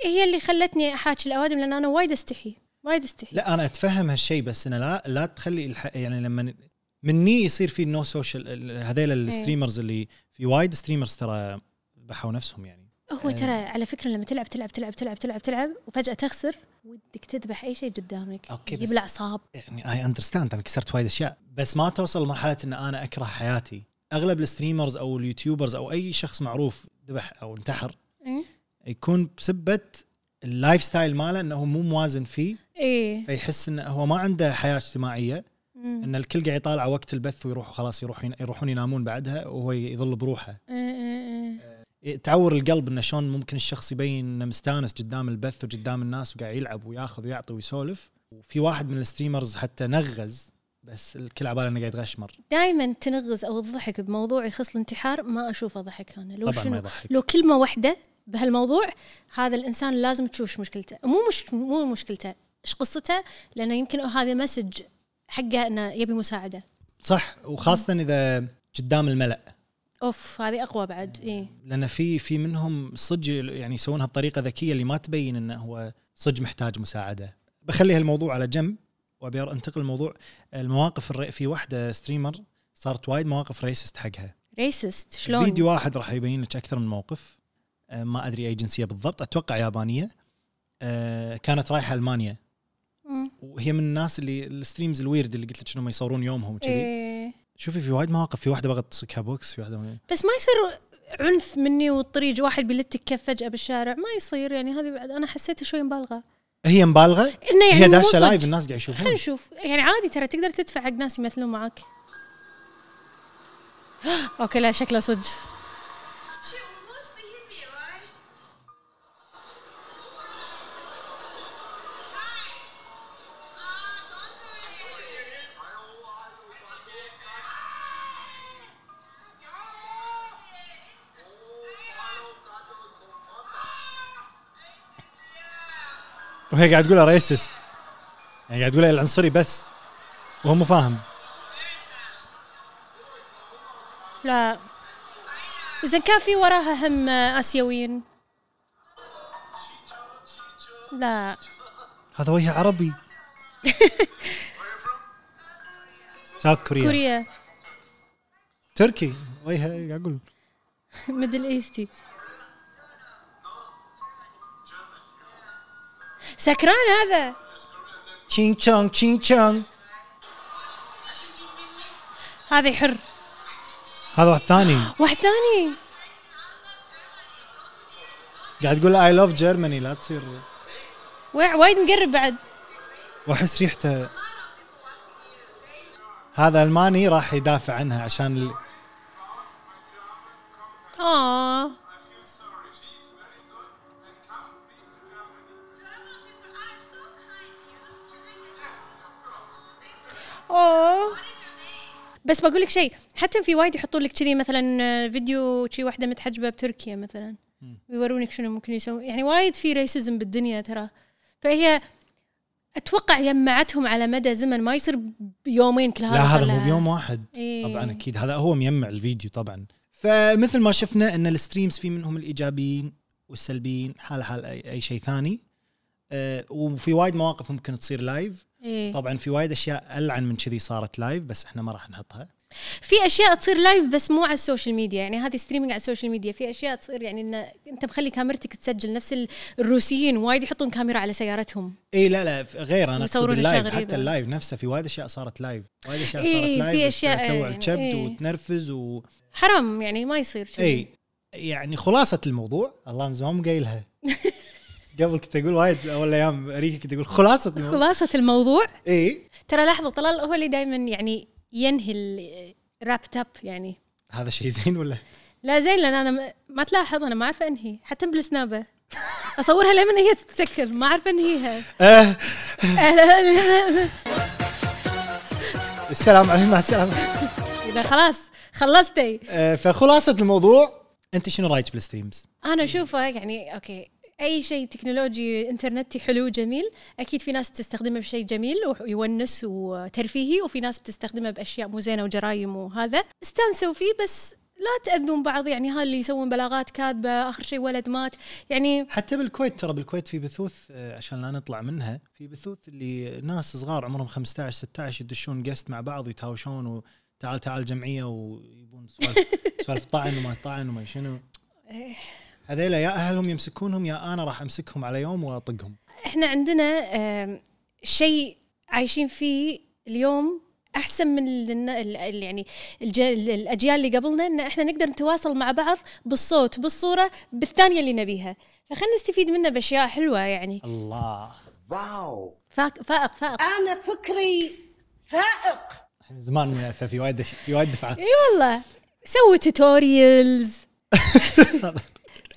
A: هي اللي خلتني احاكي الاوادم لان انا وايد استحي وايد استحي
B: لا انا اتفهم هالشيء بس انا لا لا تخلي الح... يعني لما ن- مني يصير في نو سوشيال هذيل الستريمرز اللي في وايد ستريمرز ترى ذبحوا نفسهم يعني
A: هو ترى على فكره لما تلعب تلعب تلعب تلعب تلعب تلعب وفجاه تخسر ودك تذبح اي شيء قدامك
B: أوكي، بس-
A: يجيب الاعصاب
B: يعني اي اندرستاند انا كسرت وايد اشياء بس ما توصل لمرحله ان انا اكره حياتي اغلب الستريمرز او اليوتيوبرز او اي شخص معروف ذبح او انتحر
A: إيه.
B: يكون بسبه اللايف ستايل ماله انه مو موازن فيه
A: ايه
B: فيحس انه هو ما عنده حياه اجتماعيه
A: مم.
B: ان الكل قاعد يطالع وقت البث ويروحوا خلاص يروح يروحون ينامون بعدها وهو يظل بروحه
A: إيه، إيه، إيه.
B: تعور القلب انه شلون ممكن الشخص يبين انه مستانس قدام البث وقدام الناس وقاعد يلعب وياخذ ويعطي ويسولف وفي واحد من الستريمرز حتى نغز بس الكل عباله انه قاعد يتغشمر
A: دائما تنغز او الضحك بموضوع يخص الانتحار ما اشوفه ضحك انا لو
B: طبعا ما
A: شنو
B: يضحك
A: لو كلمة واحدة بهالموضوع هذا الإنسان لازم تشوف إيش مشكلته مو مش مو مشكلته إيش قصته لأنه يمكن هذا مسج حقه إنه يبي مساعدة
B: صح وخاصه اذا قدام الملا
A: أوف هذه أقوى بعد إيه
B: لان في في منهم صدق يعني يسوونها بطريقه ذكيه اللي ما تبين انه هو صدق محتاج مساعده. بخلي هالموضوع على جنب وابي انتقل لموضوع المواقف الري... في واحده ستريمر صارت وايد مواقف ريسست حقها.
A: ريسست شلون
B: فيديو واحد راح يبين لك اكثر من موقف أه، ما ادري اي جنسيه بالضبط اتوقع يابانيه أه، كانت رايحه المانيا
A: مم.
B: وهي من الناس اللي الستريمز الويرد اللي قلت لك انهم يصورون يومهم وكذي
A: إيه.
B: شوفي في وايد مواقف في واحده بغت تصكها بوكس في واحده
A: بس ما يصير عنف مني والطريق واحد بيلتك كف فجأة بالشارع ما يصير يعني هذه بعد أنا حسيتها شوي مبالغة
B: هي مبالغه
A: إنه يعني
B: هي
A: مو
B: داشه
A: صدق.
B: لايف الناس قاعد
A: خلينا
B: يشوفون
A: نشوف يعني عادي ترى تقدر تدفع حق ناس يمثلون معاك اوكي لا شكله صدق
B: وهي قاعد تقولها ريسست يعني قاعد تقولها العنصري بس وهو مو فاهم
A: لا اذا كان في وراها هم اسيويين لا
B: هذا وجه عربي ساوث كوريا.
A: كوريا
B: تركي وجهه قاعد اقول
A: ميدل ايستي سكران هذا
B: تشينغ تشونغ تشينغ تشونغ
A: هذا يحر
B: هذا واحد ثاني
A: واحد ثاني
B: قاعد تقول اي لاف جيرماني لا تصير
A: وع- وايد مقرب بعد
B: واحس ريحته هذا الماني راح يدافع عنها عشان ال...
A: اه بس بقول لك شيء حتى في وايد يحطون لك كذي مثلا آه، فيديو شي واحده متحجبه بتركيا مثلا يورونك شنو ممكن يسوي يعني وايد في ريسزم بالدنيا ترى فهي اتوقع يمعتهم على مدى زمن ما يصير بيومين كل هذا
B: لا
A: صار
B: هذا مو
A: لها.
B: بيوم واحد
A: إيه.
B: طبعا اكيد هذا هو ميمع الفيديو طبعا فمثل ما شفنا ان الستريمز في منهم الايجابيين والسلبيين حال حال اي, أي شيء ثاني أه وفي وايد مواقف ممكن تصير لايف
A: إيه.
B: طبعا في وايد اشياء العن من كذي صارت لايف بس احنا ما راح نحطها
A: في اشياء تصير لايف بس مو على السوشيال ميديا يعني هذه ستريمينج على السوشيال ميديا في اشياء تصير يعني ان انت مخلي كاميرتك تسجل نفس ال- الروسيين وايد يحطون كاميرا على سيارتهم
B: اي إيه، لا لا ف- غير انا اقصد
A: يصورون أشياء
B: اللايف
A: غريبة.
B: حتى اللايف نفسه في وايد اشياء صارت لايف وايد اشياء
A: إيه،
B: صارت
A: إيه،
B: لايف
A: في أشياء
B: تلوع
A: يعني،
B: الكبد
A: إيه.
B: وتنرفز و
A: حرام يعني ما يصير شي.
B: اي يعني خلاصه الموضوع الله من زمان مو قايلها قبل كنت اقول وايد اول ايام امريكا كنت اقول خلاصه الموضوع إيه.
A: خلاصة الموضوع
B: اي
A: ترى لحظة طلال هو اللي دائما يعني ينهي الراب تاب يعني
B: هذا شيء زين ولا
A: لا زين لان انا م- ما تلاحظ انا ما اعرفه انهي حتى بالسنابه اصورها لما هي تتسكر ما اعرف انهيها
B: آه السلام عليكم مع السلامه
A: إذا خلاص خلصتي
B: آه فخلاصه الموضوع انت شنو رايك بالستريمز؟
A: انا اشوفه يعني اوكي اي شيء تكنولوجي انترنتي حلو جميل اكيد في ناس تستخدمه بشيء جميل ويونس وترفيهي وفي ناس بتستخدمه باشياء مو زينه وجرايم وهذا استانسوا فيه بس لا تاذون بعض يعني هاللي يسوون بلاغات كاذبه اخر شيء ولد مات يعني
B: حتى بالكويت ترى بالكويت في بثوث آه عشان لا نطلع منها في بثوث اللي ناس صغار عمرهم 15 16 يدشون قست مع بعض ويتهاوشون وتعال تعال جمعيه ويبون سوالف سوالف طعن وما طعن وما شنو هذيلا يا اهلهم يمسكونهم يا انا راح امسكهم على يوم واطقهم
A: احنا عندنا آم، شيء عايشين فيه اليوم احسن من ال- الن- ال- ال- يعني الج- ال- الاجيال اللي قبلنا ان احنا نقدر نتواصل مع بعض بالصوت بالصوره بالثانيه اللي نبيها فخلنا نستفيد منه باشياء حلوه يعني
B: الله
A: فاق فائق فائق
G: انا فكري فائق
B: من زمان من- ففي وايد أش- في وايد دفعات
A: اي والله سووا توتوريالز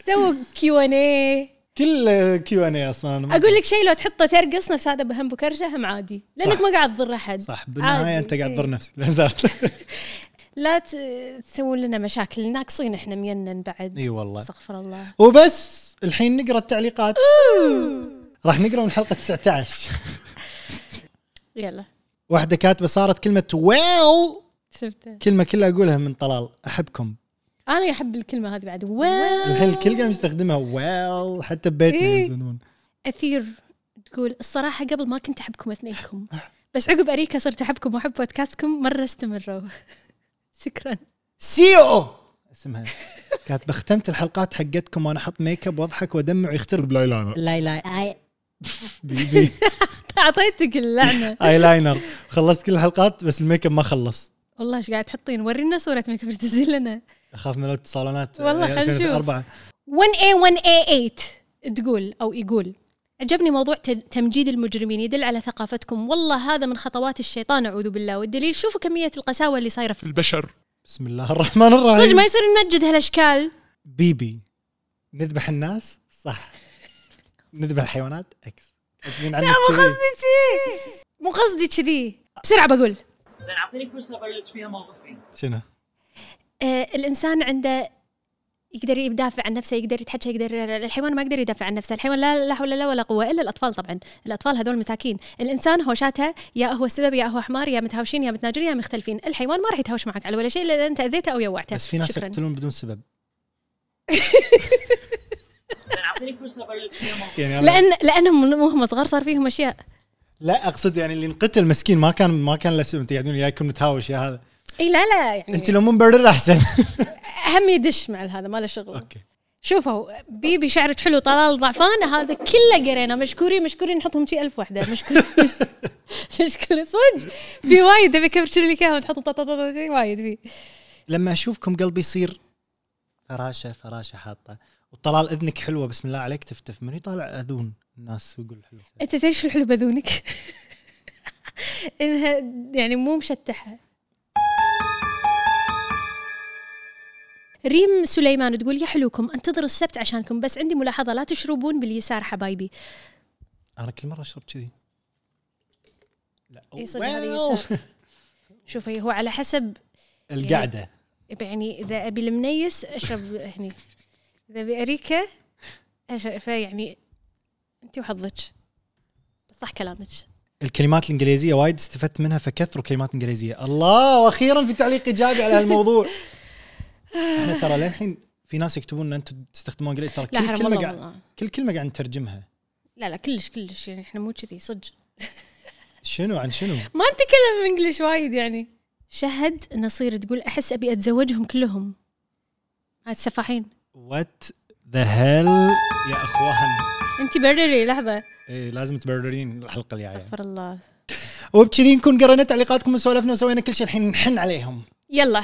A: سووا كيو ان اي
B: كل كيو ان اي اصلا أنا ما-
A: اقول لك شيء لو تحطه ترقص نفس هذا بهم بكرشه هم عادي لانك
B: صح.
A: ما قاعد تضر احد
B: صح بالنهايه
A: عادي. إيه.
B: انت قاعد
A: إي.
B: تضر نفسك لا زال
A: لا ت- تسوون لنا مشاكل ناقصين احنا مينن بعد
B: اي والله.
A: استغفر الله
B: وبس الحين نقرا التعليقات راح نقرا من حلقه 19
A: يلا
B: واحده كاتبه صارت كلمه ويل
A: شفته
B: كلمه كلها اقولها من طلال احبكم
A: انا احب الكلمه هذه بعد واو
B: الحين الكل قام يستخدمها ويل حتى ببيتنا
A: إيه.
B: يستخدمون
A: اثير تقول الصراحه قبل ما كنت احبكم اثنينكم بس عقب اريكا صرت احبكم واحب بودكاستكم مره استمروا شكرا
B: سي او اسمها كاتبه ختمت الحلقات حقتكم وانا احط ميك اب واضحك وادمع ويختر بالايلاينر بي- بي-
A: اعطيتك اللعنه
B: ايلاينر خلصت كل الحلقات بس الميك اب ما خلص
A: والله ايش قاعد تحطين ورينا صوره ميك اب تنزل لنا
B: اخاف من الاتصالات
A: والله خلنا نشوف.
B: 2004.
A: إيه، 1A1A8 إيه، تقول أو يقول عجبني موضوع ت- تمجيد المجرمين يدل على ثقافتكم والله هذا من خطوات الشيطان أعوذ بالله والدليل شوفوا كمية القساوة اللي صايرة في
B: بسم الله الرحمن الرحيم
A: صدق ما يصير نمجد هالأشكال
B: بيبي نذبح الناس صح نذبح الحيوانات اكس أتمنى عنك شيء.
A: شي مو قصدي كذي بسرعة بقول
H: زين اعطيني فلوس ابلش فيها موظفين
B: شنو؟
A: آه الإنسان عنده يقدر يدافع عن نفسه يقدر يتحكى يقدر الحيوان ما يقدر يدافع عن نفسه الحيوان لا لا حول لا ولا قوه الا الاطفال طبعا الاطفال هذول مساكين الانسان هوشاته يا هو السبب يا هو حمار يا متهاوشين يا متناجرين يا مختلفين الحيوان ما راح يتهاوش معك على ولا شيء الا اذا انت اذيته او يوعته
B: بس في ناس
A: شكراً.
B: يقتلون بدون سبب
H: زين اعطيني فلوس ابلش فيها موظفين
B: يعني أنا-
A: لان لانهم وهم صغار صار فيهم اشياء
B: لا اقصد يعني اللي انقتل مسكين ما كان ما كان له سبب انت قاعدين يا يكون متهاوش يا هذا
A: اي لا لا يعني
B: انت لو مبرر احسن
A: اهم يدش مع هذا ما له شغل
B: اوكي
A: شوفوا بيبي شعرك حلو طلال ضعفان هذا كله قرينا مشكورين مشكورين نحطهم شي ألف وحده مشكورين مشكورين صدق في وايد ابي اكبر لك اياهم تحطهم طط- طط- طط- شي وايد في
B: لما اشوفكم قلبي يصير فراشه فراشه حاطه وطلال اذنك حلوه بسم الله عليك تفتف من يطالع اذون الناس ويقول حلو
A: انت تدري شو الحلو بذونك؟ انها يعني مو مشتحه ريم سليمان تقول يا حلوكم انتظر السبت عشانكم بس عندي ملاحظه لا تشربون باليسار حبايبي
B: انا كل مره اشرب كذي لا
A: إي صدق هذا يسار. شوفي هو على حسب
B: القعده
A: يعني اذا ابي المنيس يعني، اشرب هني اذا ابي اريكه اشرب فيعني انت وحظك صح كلامك
B: الكلمات الانجليزيه وايد استفدت منها فكثروا كلمات انجليزيه الله واخيرا في تعليق ايجابي على هالموضوع احنا ترى للحين في ناس يكتبون ان انتم تستخدمون انجليزي ترى
A: لا
B: كل
A: حرام
B: كلمه
A: الله
B: قاعد
A: والله
B: كل كلمه قاعد نترجمها
A: لا لا كلش كلش يعني احنا مو كذي صدق
B: شنو عن شنو
A: ما نتكلم انجلش وايد يعني شهد نصير تقول احس ابي اتزوجهم كلهم هاد السفاحين
B: وات ذا هيل يا اخوان
A: انت برري لحظه
B: ايه لازم تبررين الحلقه الجايه
A: استغفر الله
B: وبكذي نكون قرينا تعليقاتكم وسولفنا وسوينا كل شيء الحين نحن عليهم
A: يلا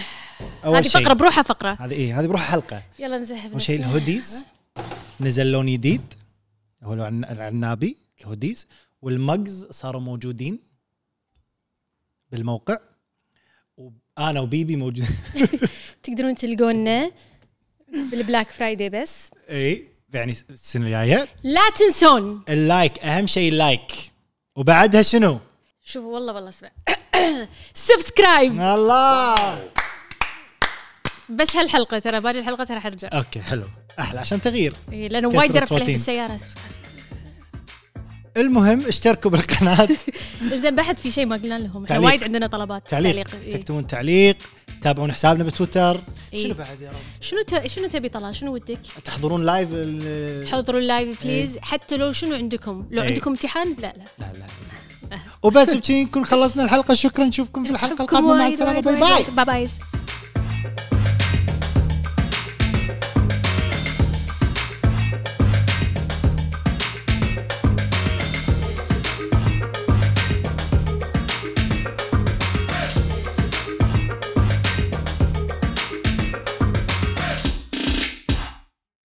B: اول
A: هذه
B: شيء
A: فقره بروحها فقره
B: هذه ايه هذه بروح حلقه
A: يلا نزهب
B: اول شيء
A: نفسنا.
B: الهوديز نزل لون جديد هو العن- العنابي الهوديز والمجز صاروا موجودين بالموقع وانا وبيبي موجود
A: تقدرون تلقونا بالبلاك فرايداي بس
B: اي يعني السنه الجايه
A: لا تنسون
B: اللايك اهم شيء اللايك وبعدها شنو؟
A: شوفوا والله والله اسمع سبسكرايب
B: الله
A: بس هالحلقه ترى باقي الحلقه ترى حرجع
B: اوكي حلو احلى عشان تغيير
A: إيه، لانه وايد
B: كثرة
A: دربت عليه
B: بروتين.
A: بالسياره
B: المهم اشتركوا بالقناه
A: زين بعد في شيء ما قلنا لهم احنا
B: تعليق.
A: وايد عندنا طلبات
B: تعليق
A: إيه.
B: تكتبون تعليق تابعون حسابنا بتويتر
A: إيه.
B: شنو بعد يا رب
A: شنو ت... شنو تبي طلال شنو ودك؟
B: تحضرون لايف ال-
A: حضروا اللايف بليز حتى لو شنو عندكم لو
B: إيه.
A: عندكم امتحان لا لا
B: لا لا وبس بكذي نكون خلصنا الحلقه شكرا نشوفكم في الحلقه القادمه مع
A: وايد-
B: السلامه
A: وايد-
B: باي
A: وايد-
B: باي
A: وايد. باي باي